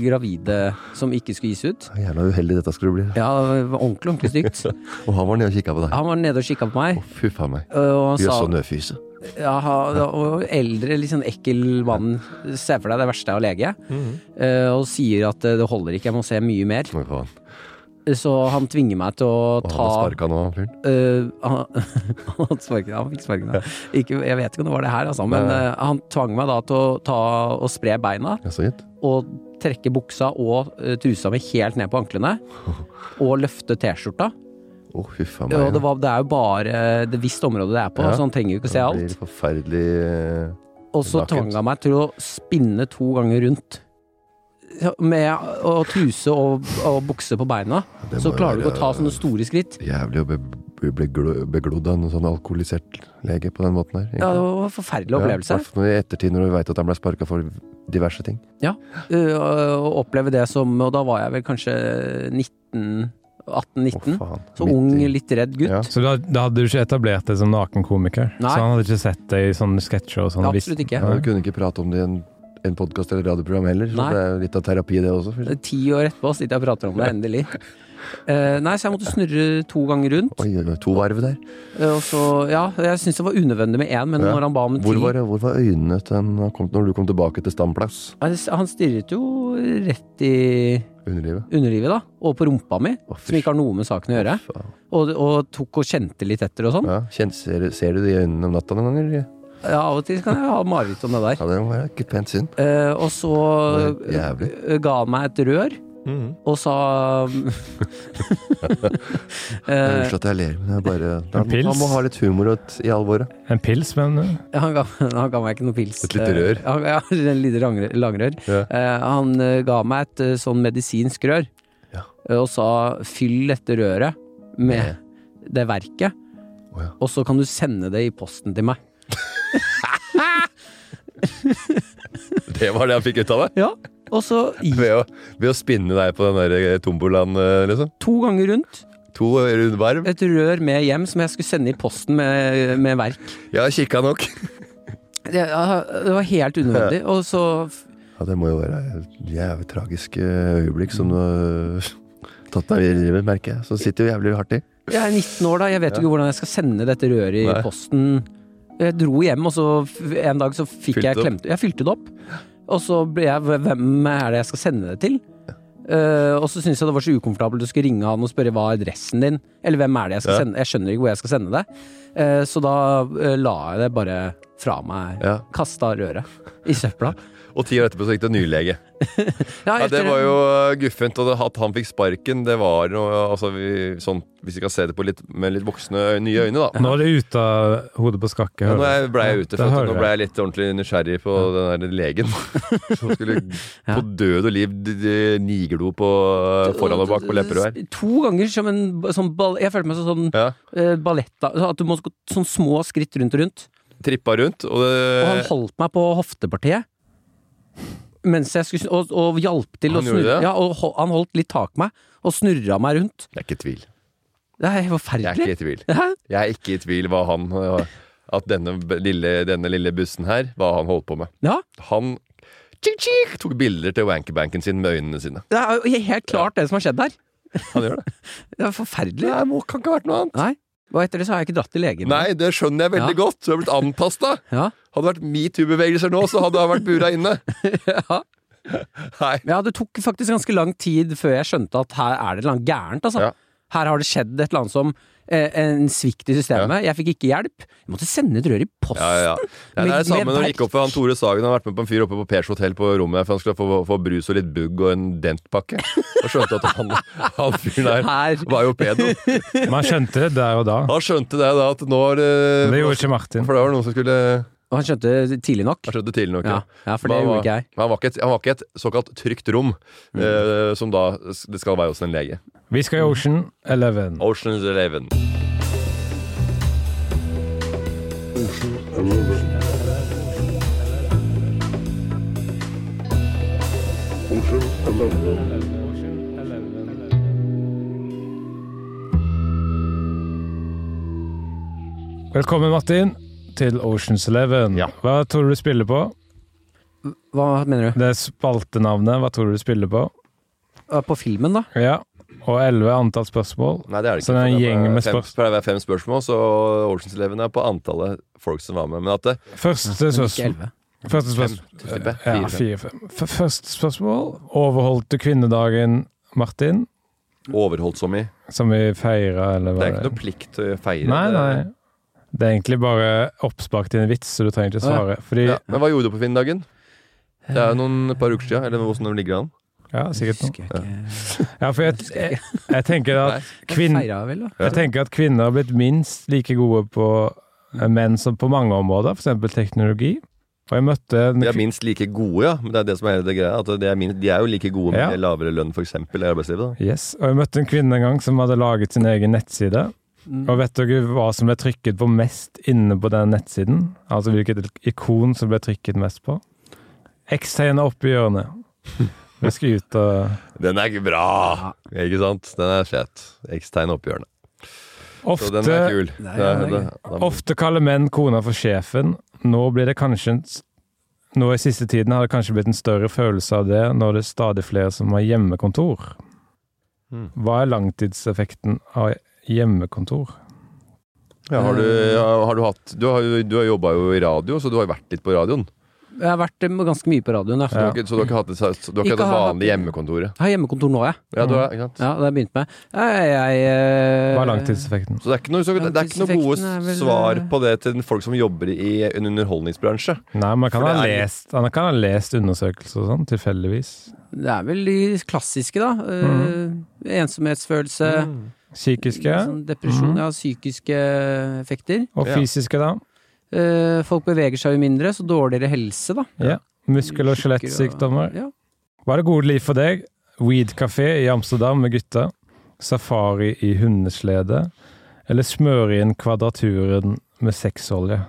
Speaker 3: gravide som ikke skulle gis ut.
Speaker 2: Ja, Jævla uheldig dette skulle bli.
Speaker 3: Ja, det var ordentlig, ordentlig stygt.
Speaker 2: Og han var nede og kikka på deg.
Speaker 3: Han var nede og kikka på meg,
Speaker 2: Å, fy faen meg.
Speaker 3: eh, og han
Speaker 2: Jøss,
Speaker 3: sa
Speaker 2: så nødfyse.
Speaker 3: ja, ha- og eldre, litt sånn ekkel mann, se for deg det verste av lege, eh, og sier at eh, det holder ikke, jeg må se mye mer.
Speaker 2: Å, faen.
Speaker 3: Så han tvinger meg til å
Speaker 2: Og han
Speaker 3: ta
Speaker 2: har sparka nå, han fyren.
Speaker 3: Eh, han, han hadde sparken, han fikk sparken. ja. Ikke, jeg vet ikke om det var det her, altså, men
Speaker 2: Nei.
Speaker 3: eh, han tvang meg da til å ta og spre beina
Speaker 2: Ja, så gitt.
Speaker 3: og trekke buksa og eh, trusa mi helt ned på anklene. Og løfte T-skjorta.
Speaker 2: Å, fy faen meg.
Speaker 3: Og det, var, det er jo bare et visst område det er på,
Speaker 2: Ja.
Speaker 3: så han trenger jo ikke se
Speaker 2: Han
Speaker 3: alt.
Speaker 2: Blir forferdelig eh,
Speaker 3: Og så
Speaker 2: nakent.
Speaker 3: tvang han meg til å spinne to ganger rundt. Ja, Med å truse og, og bukse på beina,
Speaker 2: det
Speaker 3: så
Speaker 2: må jo
Speaker 3: klarer du ikke å ta
Speaker 2: være
Speaker 3: sånne store skritt.
Speaker 2: Jævlig å be- bli glo- beglodd av en sånn alkoholisert lege på den måten her. egentlig.
Speaker 3: Ja, det var en forferdelig
Speaker 2: Ja,
Speaker 3: opplevelse.
Speaker 2: hvertfall I ettertid, når du veit at han ble sparka for diverse ting.
Speaker 3: Uh, Å oppleve det som Og da var jeg vel kanskje 19
Speaker 2: Å,
Speaker 3: 18-19.
Speaker 2: faen.
Speaker 3: så
Speaker 2: Midt
Speaker 3: ung,
Speaker 2: i-
Speaker 3: litt redd gutt.
Speaker 2: Ja.
Speaker 1: Så da, da hadde du ikke etablert deg som nakenkomiker?
Speaker 3: Nei.
Speaker 1: Så han hadde ikke sett deg i sånne sketsjer og sånn?
Speaker 3: Absolutt ikke.
Speaker 2: Ja, du kunne ikke prate om det i en, en podkast eller radioprogram heller, så
Speaker 3: Nei.
Speaker 2: det er jo litt av terapi, det også. for-
Speaker 3: Ti år etterpå sitter jeg og prater om det, endelig. Eh, nei, så jeg måtte snurre to ganger rundt.
Speaker 2: Oi, oi, oi, to varv der.
Speaker 3: eh, og så, ja, jeg syntes det var unødvendig med én, men
Speaker 2: Ja.
Speaker 3: når han ba om ti
Speaker 2: Hvor var, hvor var øynene til en, han kom, når du kom tilbake til stamplass?
Speaker 3: Nei, Han stirret jo rett i
Speaker 2: Underlivet.
Speaker 3: underlivet, da. Og på rumpa mi,
Speaker 2: Å, fy
Speaker 3: som ikke har noe med saken å gjøre.
Speaker 2: faen.
Speaker 3: Og, og tok og kjente litt etter og sånn.
Speaker 2: Ja, kjenn- ser, du- ser du det i øynene om natta noen ganger? eller?
Speaker 3: Ja, av og til kan jeg ha mareritt om det der.
Speaker 2: Ja, det må være ikke pent syn.
Speaker 3: Eh, og så
Speaker 2: Det er jævlig.
Speaker 3: eh, ga han meg et rør
Speaker 1: Mm.
Speaker 3: og sa Eh,
Speaker 2: Unnskyld at jeg ler, men det er bare
Speaker 1: En pils?
Speaker 2: Han må ha litt humor og et, i alvoret.
Speaker 1: En pils, men eh,
Speaker 3: han, ga, han ga meg ikke noe pils.
Speaker 2: Et lite rør?
Speaker 3: Eh, han, ja, en lite langrør. langrør.
Speaker 2: Ja.
Speaker 3: Eh, han eh, ga meg et eh, sånn medisinsk rør
Speaker 2: Ja.
Speaker 3: eh, og sa fyll dette røret med det verket,
Speaker 2: Å, ja.
Speaker 3: og så kan du sende det i posten til meg.
Speaker 2: Det var det han fikk ut av deg?
Speaker 3: Ja, og så i-
Speaker 2: Ved å, ved å spinne deg på den der tombolaen, eh, liksom?
Speaker 3: to ganger rundt
Speaker 2: To runde varv?
Speaker 3: et rør med hjem som jeg skulle sende i posten med, med verk.
Speaker 2: Jeg har kikka nok.
Speaker 3: Det, ja, det var helt unødvendig. Og så
Speaker 2: Ja, det må jo være et jævlig tragisk eh, øyeblikk som du har tatt deg i livet, merker jeg. Så sitter jo jævlig hardt i.
Speaker 3: Jeg er 19 år, da. Jeg vet jo ikke hvordan jeg skal sende dette røret i
Speaker 2: Nei.
Speaker 3: posten. Jeg dro hjem, og så f- en dag så fikk
Speaker 2: Fylte
Speaker 3: jeg
Speaker 2: det opp.
Speaker 3: klemt Jeg fylte det opp. Og så ble jeg Hvem er det jeg skal sende det til? Eh, og så syntes jeg det var så ukomfortabelt å skulle ringe han og spørre hva er adressen din? Eller hvem er det jeg skal
Speaker 2: Ja.
Speaker 3: sende? Jeg skjønner ikke hvor jeg skal sende det. Eh, så da eh, la jeg det bare fra meg.
Speaker 2: Ja.
Speaker 3: Kasta røret i søpla.
Speaker 2: Og ti år etterpå så gikk det en ny lege.
Speaker 3: Ja,
Speaker 2: Ja, det
Speaker 3: etter-
Speaker 2: var jo eh, guffent, og det, at han fikk sparken, det var noe altså, vi, sånn, Hvis vi kan se det på litt, med litt voksne, nye øyne, da.
Speaker 1: nå er det ute av hodet på skakke.
Speaker 2: Ja, nå
Speaker 1: hører du.
Speaker 2: er- ble jeg
Speaker 1: Da
Speaker 2: ute, for at,
Speaker 1: hører
Speaker 2: nå
Speaker 1: jeg.
Speaker 2: ble jeg litt ordentlig nysgjerrig på den der legen som skulle på død og liv d- d- niglo på eh, foran og bak på lepper og her.
Speaker 3: To ganger som en sånn ball... Jeg følte meg som sånn
Speaker 2: Ja,
Speaker 3: eh, ballett... da. At du må gå sånn små skritt rundt og rundt.
Speaker 2: Trippa rundt, og det
Speaker 3: Og han holdt meg på hoftepartiet. Mens jeg skulle, snu- og, og hjalp til
Speaker 2: Han
Speaker 3: å
Speaker 2: gjorde
Speaker 3: snurre.
Speaker 2: det?
Speaker 3: Ja, og ho- han holdt litt tak i meg, og snurra meg rundt.
Speaker 2: Det er ikke tvil.
Speaker 3: Det er
Speaker 2: Jeg er
Speaker 3: forferdelig.
Speaker 2: ikke i tvil.
Speaker 3: Hæ?
Speaker 2: Jeg er ikke i tvil hva han øh, At denne b- lille, denne lille bussen her, hva han holdt på med.
Speaker 3: Ja.
Speaker 2: Han tjik, tjik, tok bilder til wankerbanken sin med øynene sine.
Speaker 3: Det er jo helt klart det som har skjedd her.
Speaker 2: Han gjør det.
Speaker 3: Det er forferdelig.
Speaker 2: Det må, kan ikke ha vært noe annet.
Speaker 3: Nei. Og etter det så har jeg ikke dratt til legen.
Speaker 2: Nei, det skjønner jeg veldig
Speaker 3: Ja.
Speaker 2: godt. Du har blitt anpasta.
Speaker 3: Ja.
Speaker 2: Hadde det vært metoo-bevegelser nå, så hadde han vært bura inne.
Speaker 3: Ja.
Speaker 2: Nei.
Speaker 3: ja, det tok faktisk ganske lang tid før jeg skjønte at her er det et eller annet gærent, altså.
Speaker 2: Ja.
Speaker 3: Her har det skjedd et eller annet som eh, en svikt i systemet. Jeg fikk ikke hjelp. Jeg måtte sende et rør i posten.
Speaker 2: Ja, ja. ja. Det er det
Speaker 3: Med-
Speaker 2: samme
Speaker 3: med
Speaker 2: når det gikk opp for han Tore Sagen. Han har vært med på en fyr oppe på Pers hotell på rommet for han skulle få, få brus og litt bugg og en dentpakke. Og skjønte at han, han fyren der
Speaker 3: Her.
Speaker 2: var jo pedo.
Speaker 1: Man skjønte det der og da.
Speaker 2: Han skjønte det da, at nå er
Speaker 1: Men Det
Speaker 2: det
Speaker 1: gjorde ikke Martin.
Speaker 2: For det var noen som skulle Han
Speaker 3: Og han skjønte tidlig nok.
Speaker 2: skjønte tidlig nok.
Speaker 3: Ja,
Speaker 2: Ja.
Speaker 3: ja for det
Speaker 2: Men
Speaker 3: gjorde
Speaker 2: han
Speaker 3: ikke
Speaker 2: var,
Speaker 3: jeg. Mm.
Speaker 2: men han var ikke et, han var ikke et såkalt trygt rom, eh, som da s- det skal være hos en lege.
Speaker 1: Vi skal i Ocean Eleven.
Speaker 2: Oceans Eleven.
Speaker 1: Velkommen, Martin, til Oceans Eleven.
Speaker 2: Ja.
Speaker 1: Hva tror du du spiller på?
Speaker 3: Hva mener du?
Speaker 1: Det er spaltenavnet. Hva tror du du spiller på?
Speaker 3: Eh, På filmen, da?
Speaker 1: Ja. Og elleve antall spørsmål.
Speaker 2: Nei, det er det ikke.
Speaker 1: Så det er en
Speaker 2: for
Speaker 1: gjeng
Speaker 2: bare
Speaker 1: med
Speaker 2: fem,
Speaker 1: spørsmål.
Speaker 2: for det er fem spørsmål, så Oceans Eleven er på antallet folk som var med. Men at det
Speaker 1: Første
Speaker 3: Men ikke
Speaker 1: spørsmål.
Speaker 3: 11.
Speaker 1: Første
Speaker 2: fem,
Speaker 1: spørsmål.
Speaker 2: tipper jeg,
Speaker 1: Ja,
Speaker 2: fire, fem.
Speaker 1: fire, fem. F- Første spørsmål. Overholdt du kvinnedagen, Martin?
Speaker 2: Overholdt som i
Speaker 1: Som vi feira, eller
Speaker 2: Det
Speaker 1: hva
Speaker 2: er ikke noe plikt til å feire.
Speaker 1: Nei,
Speaker 2: det.
Speaker 1: nei. Det er egentlig bare oppspark til en vits, så du trenger ikke
Speaker 3: Å, ja.
Speaker 1: svare. Fordi,
Speaker 2: Ja, men hva gjorde du på Finndagen? Det er jo noen et par uker siden, eller hvordan de ligger an.
Speaker 1: ja, sikkert noe.
Speaker 3: Husker jeg ikke.
Speaker 1: Ja, for jeg, jeg, jeg, tenker
Speaker 2: Nei.
Speaker 1: at kvinn,
Speaker 3: Feira vel, da.
Speaker 1: jeg tenker at kvinner har blitt minst like gode på eh, menn som på mange områder, f.eks. teknologi. Og jeg møtte en
Speaker 2: De er
Speaker 1: kvin-
Speaker 2: minst like gode, ja. Men det er det som er hele det greia. At de, er min- de er jo like gode med
Speaker 1: Ja.
Speaker 2: lavere lønn, for eksempel, i arbeidslivet. Da.
Speaker 1: yes, og jeg møtte en kvinne en gang som hadde laget sin egen nettside.
Speaker 3: Mm.
Speaker 1: Og vet dere hva som ble trykket på mest inne på den nettsiden? Altså hvilket ikon som ble trykket mest på? X-tegnet oppe i hjørnet. Vi skal ut og
Speaker 2: Den er ikke bra! Ikke sant? Den er fet. X-tegn oppi hjørnet. Så den er
Speaker 1: Ofte,
Speaker 2: kul.
Speaker 3: Nei,
Speaker 2: Det er-
Speaker 3: den er
Speaker 2: det- da-
Speaker 1: ofte kaller menn kona for sjefen. Nå blir det kanskje en s- Nå i siste tiden har det kanskje blitt en større følelse av det når det er stadig flere som har hjemmekontor.
Speaker 2: Mm.
Speaker 1: Hva er langtidseffekten av hjemmekontor?
Speaker 2: ja, har, du, ja, har du hatt Du har, jo- du har jobba jo i radio, så du har jo vært litt på radioen.
Speaker 3: Jeg har vært eh, ganske mye på radioen. Jeg.
Speaker 2: Så,
Speaker 1: Ja.
Speaker 2: du, har ikke, så du har ikke hatt det, så du har ikke
Speaker 3: Ikke
Speaker 2: hatt det
Speaker 3: har
Speaker 2: vanlige hjemmekontoret.
Speaker 3: Jeg har hjemmekontor nå, jeg.
Speaker 2: Ja, du
Speaker 1: Mm.
Speaker 2: har, ikke sant?
Speaker 3: Ja, det har jeg begynt med. Jeg, jeg, eh,
Speaker 1: Hva er langtidseffekten?
Speaker 2: Så det er ikke noe, så, det er ikke noe gode
Speaker 3: Langtidseffekten er vel,
Speaker 2: svar
Speaker 3: eh,
Speaker 2: på det til folk som jobber i en underholdningsbransje.
Speaker 1: Nei, man kan
Speaker 2: For
Speaker 1: ha
Speaker 2: det er-
Speaker 1: lest, han kan ha lest undersøkelser og sånn, tilfeldigvis.
Speaker 3: Det er vel de klassiske, da. Eh,
Speaker 1: Mhm.
Speaker 3: Ensomhetsfølelse.
Speaker 1: Psykiske
Speaker 3: Sånn depresjon,
Speaker 1: Mhm.
Speaker 3: ja, psykiske effekter.
Speaker 1: og
Speaker 2: Ja.
Speaker 1: fysiske, da.
Speaker 3: Eh, folk beveger seg jo mindre, så dårligere helse, da.
Speaker 1: Ja. Muskel- og
Speaker 3: Tjukkere
Speaker 1: skjelettsykdommer.
Speaker 3: Ja.
Speaker 1: Hva er det gode liv for deg? Weed-kafé i Amsterdam med gutta. Safari i hundeslede. Eller smøre inn kvadraturen med sexolje.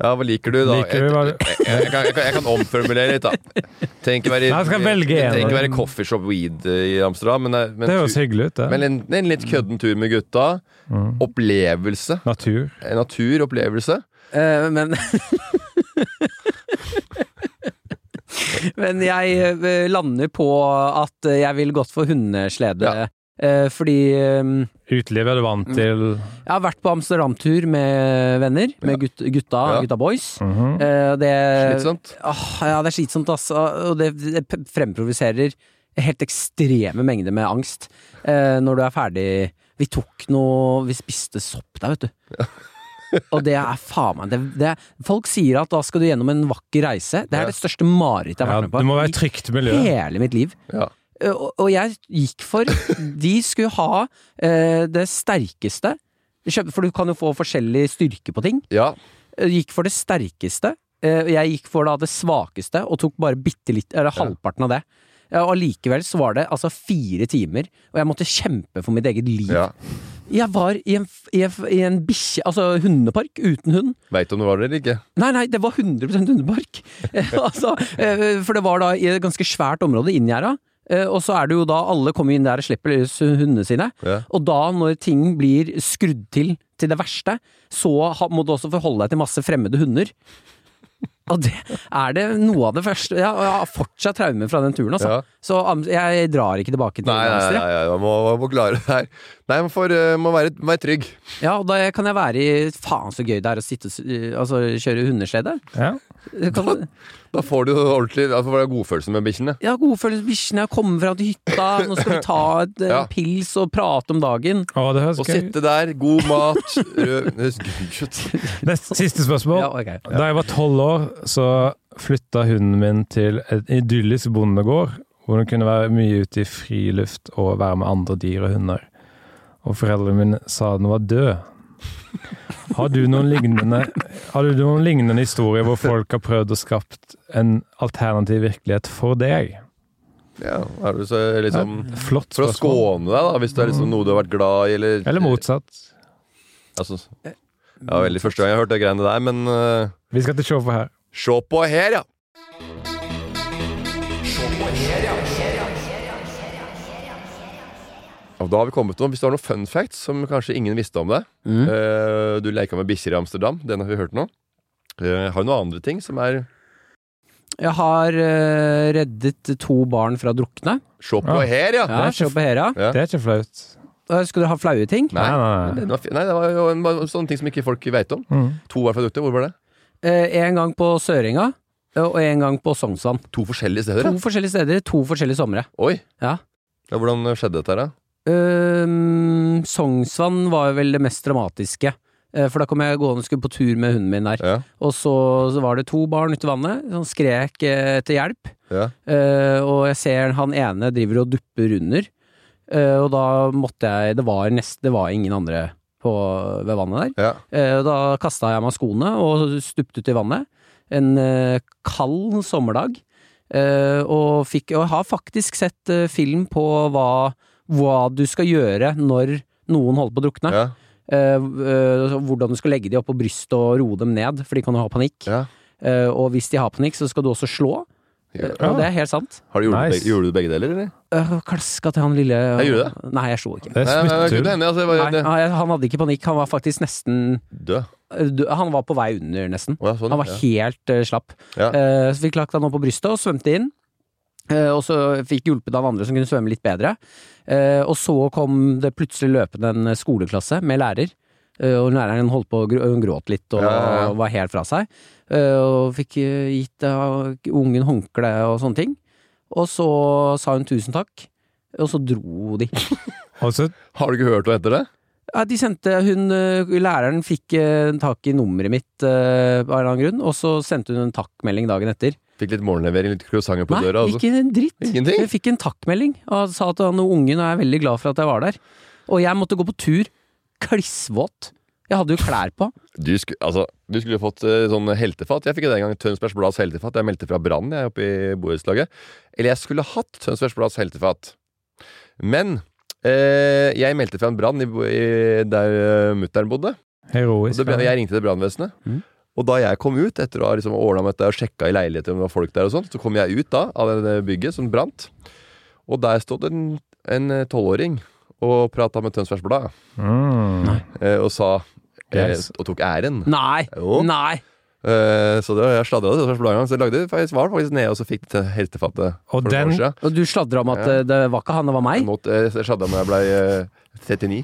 Speaker 2: Ja, hva liker du, da?
Speaker 1: Liker du hva-
Speaker 2: jeg, jeg, jeg, kan, jeg, kan, jeg kan omformulere litt, da. Trenger ikke
Speaker 1: Nei,
Speaker 2: være,
Speaker 1: jeg skal velge en.
Speaker 2: trenger ikke være coffeeshop weed i Amsterdam, men, men,
Speaker 1: Det høres
Speaker 2: tu-
Speaker 1: hyggelig ut, det.
Speaker 2: men en, en litt kødden tur med gutta.
Speaker 1: Mm.
Speaker 2: Opplevelse.
Speaker 1: Natur.
Speaker 2: En Naturopplevelse.
Speaker 3: Eh, men Men jeg eh, lander på at jeg ville gått for hundeslede.
Speaker 2: Ja.
Speaker 3: Eh, fordi eh,
Speaker 1: Uteliv er du
Speaker 3: Mm.
Speaker 1: vant til.
Speaker 3: jeg har vært på Amsterdam-tur med venner, med gut gutta,
Speaker 2: Ja.
Speaker 3: gutta boys.
Speaker 1: Mhm.
Speaker 3: Eh, og det,
Speaker 2: Slitsomt.
Speaker 3: Åh, ja, det er slitsomt, altså. Og det, det p- fremprovoserer helt ekstreme mengder med angst eh, når du er ferdig. Vi tok noe Vi spiste sopp der, vet du. Og det er faen meg det, det, Folk sier at da skal du gjennom en vakker reise. Det
Speaker 2: Ja.
Speaker 3: er det største marerittet jeg har
Speaker 1: Ja,
Speaker 3: vært med på.
Speaker 1: det må være et trygt miljø.
Speaker 3: I hele mitt liv.
Speaker 2: Ja.
Speaker 3: Eh, Og, og jeg gikk for De skulle ha eh, det sterkeste. Kjøp- For du kan jo få forskjellig styrke på ting
Speaker 2: ja.
Speaker 3: eh, gikk for det sterkeste. eh, og Jeg gikk for da det svakeste, og tok bare bitte litt, eller halvparten av det. Ja, Og allikevel så var det altså fire timer, og jeg måtte kjempe for mitt eget liv.
Speaker 2: ja.
Speaker 3: Jeg var i en, f- i en, f- i en bikkje... Altså hundepark uten hund.
Speaker 2: Veit om det var det eller ikke.
Speaker 3: Nei, nei, det var eh, 100 hundepark! altså, eh, for det var da i et ganske svært område, inngjerda. Eh, Og så er det jo da alle kommer inn der og slipper løs hundene sine.
Speaker 2: Ja.
Speaker 3: Og da, når ting blir skrudd til til det verste, så ha- må du også forholde deg til masse fremmede hunder. Og det er det noe av det første ja, og Jeg har fortsatt traumer fra den turen, altså.
Speaker 2: Ja.
Speaker 3: Så Am- jeg drar ikke tilbake til
Speaker 2: Nei, nei,
Speaker 3: Amsterdam.
Speaker 2: nei, nei, man må, man må klare det her. Nei, man får, eh, må være, være trygg.
Speaker 3: Ja, og da kan jeg være i Faen så gøy det er å sitte, og s- altså, kjøre hundeslede.
Speaker 1: Ja.
Speaker 3: Jeg Kan,
Speaker 2: Da får du ordentlig da får du godfølelse med bikkjene.
Speaker 3: jeg har godfølelse med bikkjene, jeg kommer fram til hytta, nå skal vi ta et eh,
Speaker 2: Ja.
Speaker 3: pils og prate om dagen.
Speaker 1: Å, det høres
Speaker 2: Å
Speaker 1: gøy ut.
Speaker 2: sitte der, god mat rød, Gutt.
Speaker 1: Neste- Siste spørsmål.
Speaker 3: Ja, ok.
Speaker 1: Da jeg var tolv år, så flytta hunden min til et idyllisk bondegård, hvor den kunne være mye ute i friluft og være med andre dyr og hunder. Og foreldrene mine sa den var død. Har du noen lignende, har du noen lignende historier hvor folk har prøvd å skapt en alternativ virkelighet for deg?
Speaker 2: Ja, er du så liksom
Speaker 1: Flott
Speaker 2: For
Speaker 1: spørsmål.
Speaker 2: å
Speaker 1: Mm.
Speaker 2: skåne deg, da, hvis det er liksom noe du har vært glad i, eller
Speaker 1: Eller motsatt.
Speaker 2: Altså, ja, veldig første gang jeg hørte de greiene der, men eh,
Speaker 1: Vi skal til show for her.
Speaker 2: Se på her, ja! Og da har vi kommet til, Hvis du har noen fun facts som kanskje ingen visste om deg
Speaker 1: Mm.
Speaker 2: eh, Du leka med bikkjer i Amsterdam, den har vi hørt nå. Eh, har du noen andre ting som er
Speaker 3: Jeg har eh, reddet to barn fra å drukne.
Speaker 2: Se på
Speaker 1: Ja.
Speaker 2: her, ja!
Speaker 3: Ja, se på Hera.
Speaker 2: Ja.
Speaker 1: Det er ikke flaut.
Speaker 3: Eh, Skal dere ha flaue ting?
Speaker 1: Nei, nei, nei.
Speaker 2: Det var, fi- nei, det var jo en, bare sånne ting som ikke folk veit om.
Speaker 1: Mm.
Speaker 2: To var fra Dukte. Hvor var det?
Speaker 3: Eh, en gang på Sørenga, eh, og en gang på Sognsvann.
Speaker 2: To forskjellige steder.
Speaker 3: To
Speaker 2: ja.
Speaker 3: forskjellige steder, to forskjellige somre.
Speaker 2: Oi!
Speaker 3: Ja.
Speaker 2: Ja, hvordan skjedde dette her, da?
Speaker 3: Ehm, Sognsvann var vel det mest dramatiske. Eh, For da kom jeg gående og skulle på tur med hunden min der.
Speaker 2: Ja,
Speaker 3: Og så, så var det to barn ute i vannet som skrek eh, etter hjelp.
Speaker 2: ja.
Speaker 3: Eh, og jeg ser han ene driver og dupper under. Eh, og da måtte jeg Det var, nest, det var ingen andre på, ved vannet der.
Speaker 2: ja.
Speaker 3: Eh, og da kasta jeg meg skoene og stupte ut i vannet. En eh, kald sommerdag. Eh, og, fikk, og jeg har faktisk sett eh, film på hva, hva du skal gjøre når noen holder på å drukne.
Speaker 2: ja.
Speaker 3: Eh, eh, hvordan du skal legge de opp på brystet og roe dem ned, for de kan jo ha panikk.
Speaker 2: ja.
Speaker 3: Eh, og hvis de har panikk, så skal du også slå. Eh,
Speaker 2: Ja.
Speaker 3: Og det er helt sant.
Speaker 2: Har du gjort,
Speaker 1: Nice.
Speaker 2: begge, gjorde du begge deler, eller?
Speaker 3: Øh, Klaska til han lille
Speaker 2: Jeg gjorde
Speaker 3: Nei, jeg slo ikke.
Speaker 1: Det er
Speaker 2: Nei, nei, det
Speaker 1: smutthull.
Speaker 2: kunne hende. Altså, jeg
Speaker 3: Nei,
Speaker 2: var det-
Speaker 3: han han hadde ikke panikk. Han var faktisk nesten
Speaker 2: død.
Speaker 3: øh, død. Han var på vei under, nesten.
Speaker 2: Å, ja, sånn,
Speaker 3: Han var
Speaker 2: ja.
Speaker 3: helt øh, slapp.
Speaker 2: Ja.
Speaker 3: Eh, så vi klakket han opp på brystet og svømte inn. Eh, og så fikk hjulpet han andre som kunne svømme litt bedre. Eh, og så kom det plutselig løpende en skoleklasse med lærer. Eh, og læreren holdt på å grå, hun gråt litt og
Speaker 2: Ja, ja, ja.
Speaker 3: var helt fra seg. Eh, og fikk eh, gitt eh, ungen håndkle og sånne ting. Og så sa hun tusen takk. Og så dro de.
Speaker 1: Og så
Speaker 2: Har du ikke hørt noe etter det?
Speaker 3: Ja, de sendte, hun, eh, Læreren fikk eh, tak i nummeret mitt eh, av en eller annen grunn, og så sendte hun en takkmelding dagen etter.
Speaker 2: Fikk litt morgenlevering, litt croissanter på
Speaker 3: Nei,
Speaker 2: døra. Altså.
Speaker 3: ikke en dritt.
Speaker 2: Ingenting?
Speaker 3: Jeg fikk en takkmelding og sa at han og ungen er veldig glad for at jeg var der. Og jeg måtte gå på tur klissvåt. Jeg hadde jo klær på.
Speaker 2: Du, sku, altså, du skulle fått eh, sånn heltefat. Jeg fikk det en gang Tønsbergs Blads heltefat. Jeg meldte fra Brann jeg, oppe i borettslaget. Eller jeg skulle hatt Tønsbergs Blads heltefat. Men eh, jeg meldte fra en brann i, bo- i, der uh, mutter'n bodde. Og
Speaker 1: heroisk.
Speaker 2: det, ble- jeg ringte til brannvesenet.
Speaker 3: Mhm.
Speaker 2: Og da jeg kom ut, etter å ha liksom ordna med dette og sjekka i leiligheter om det var folk der, og sånt, så kom jeg ut da av det det bygget som brant. Og der stod en en eh, tolvåring og prata med Tønsbergs Blad,
Speaker 1: Mm.
Speaker 2: eh, og sa eh,
Speaker 1: Yes.
Speaker 2: Og tok æren.
Speaker 3: Nei!
Speaker 2: Jo.
Speaker 3: Nei!
Speaker 2: Eh, så det, jeg sladra til Tønsbergs Blad en gang, så jeg lagde faktisk, var faktisk nede, og så fikk det heltefatet.
Speaker 1: Og
Speaker 2: for et
Speaker 1: den-
Speaker 2: år siden.
Speaker 3: Og du sladra om at eh, det var ikke han, det var meg?
Speaker 2: Mot, eh, jeg sladra når jeg ble eh, 39.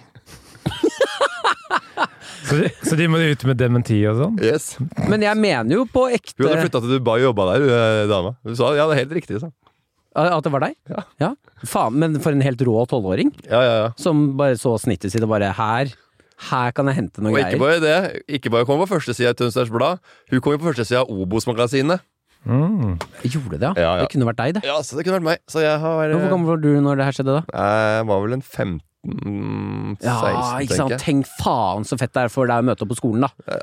Speaker 1: Så, de, så de må ut med dementi og sånn?
Speaker 2: Yes.
Speaker 3: Men jeg mener jo på
Speaker 2: Hun
Speaker 3: ekte
Speaker 2: hadde flytta til Dubai og jobba der, hun eh, dama. Hun sa ja, det er helt riktig. Sa. hun.
Speaker 3: at det var deg.
Speaker 2: Ja.
Speaker 3: Faen, men for en helt rå tolvåring
Speaker 2: Ja, ja, ja.
Speaker 3: som bare så snittet sitt og bare her her kan jeg hente noen
Speaker 2: Og ikke
Speaker 3: greier.
Speaker 2: bare det, ikke bare kom på førstesida i Tønsbergs Blad, hun kom jo på førstesida av Obos-magasinet.
Speaker 1: Mm.
Speaker 3: Jeg Gjorde det, ja.
Speaker 2: Ja, ja.
Speaker 3: Det kunne vært deg, det.
Speaker 2: Ja, så det kunne vært meg. Så jeg har eh, vært
Speaker 3: Hvor gammel var du når det her skjedde, da?
Speaker 2: Jeg var vel en 15-16,
Speaker 3: Ja, ikke sant.
Speaker 2: tenker jeg.
Speaker 3: Tenk faen så fett det er for deg å møte opp på skolen, da.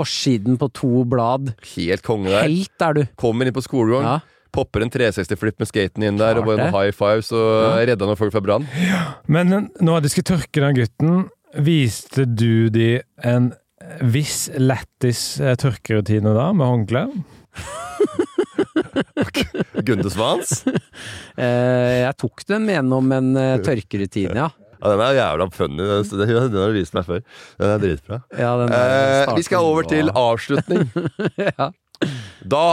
Speaker 3: Forsiden på to blad.
Speaker 2: Helt konge der.
Speaker 3: Helt er du.
Speaker 2: Kommer inn på skolegården,
Speaker 3: Ja.
Speaker 2: popper en 360-flipp med skaten inn der,
Speaker 3: Klart
Speaker 2: og bare
Speaker 3: det.
Speaker 2: en high five, så redda noen folk fra brann.
Speaker 1: Men når du skulle tørke den gutten, viste du de en viss lættis eh, tørkerutine da, med håndkle?
Speaker 2: Gunde Svans?
Speaker 3: Eh, jeg tok dem gjennom en eh, tørkerutine, ja.
Speaker 2: Ja, den er jævla funny. Den- Den den har du vist meg før. Den er dritbra.
Speaker 3: ja den der
Speaker 2: Eh, vi skal
Speaker 3: starten
Speaker 2: over til
Speaker 3: var-
Speaker 2: avslutning.
Speaker 3: ja.
Speaker 2: Da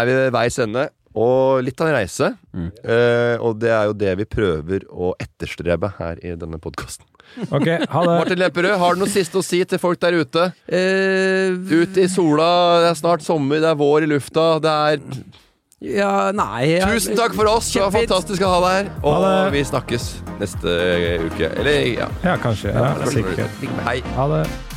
Speaker 2: er vi ved veis ende, og litt av en reise. Eh, og det er jo det vi prøver å etterstrebe her i denne podkasten.
Speaker 1: Ok, ha det.
Speaker 2: Martin Lepperød, har du noe siste å si til folk der ute?
Speaker 3: Eh,
Speaker 2: Ut i sola, det er snart sommer, det er vår i lufta. Det er
Speaker 3: ja, nei jeg-
Speaker 2: Tusen takk for oss, det var
Speaker 3: Kjempefint.
Speaker 2: fantastisk å ha deg her.
Speaker 1: Ha
Speaker 2: Og
Speaker 1: det.
Speaker 2: vi snakkes neste eh, uke. Eller ja.
Speaker 1: Ja, kanskje. Ja, sikkert.
Speaker 2: Hei.
Speaker 1: Ha det.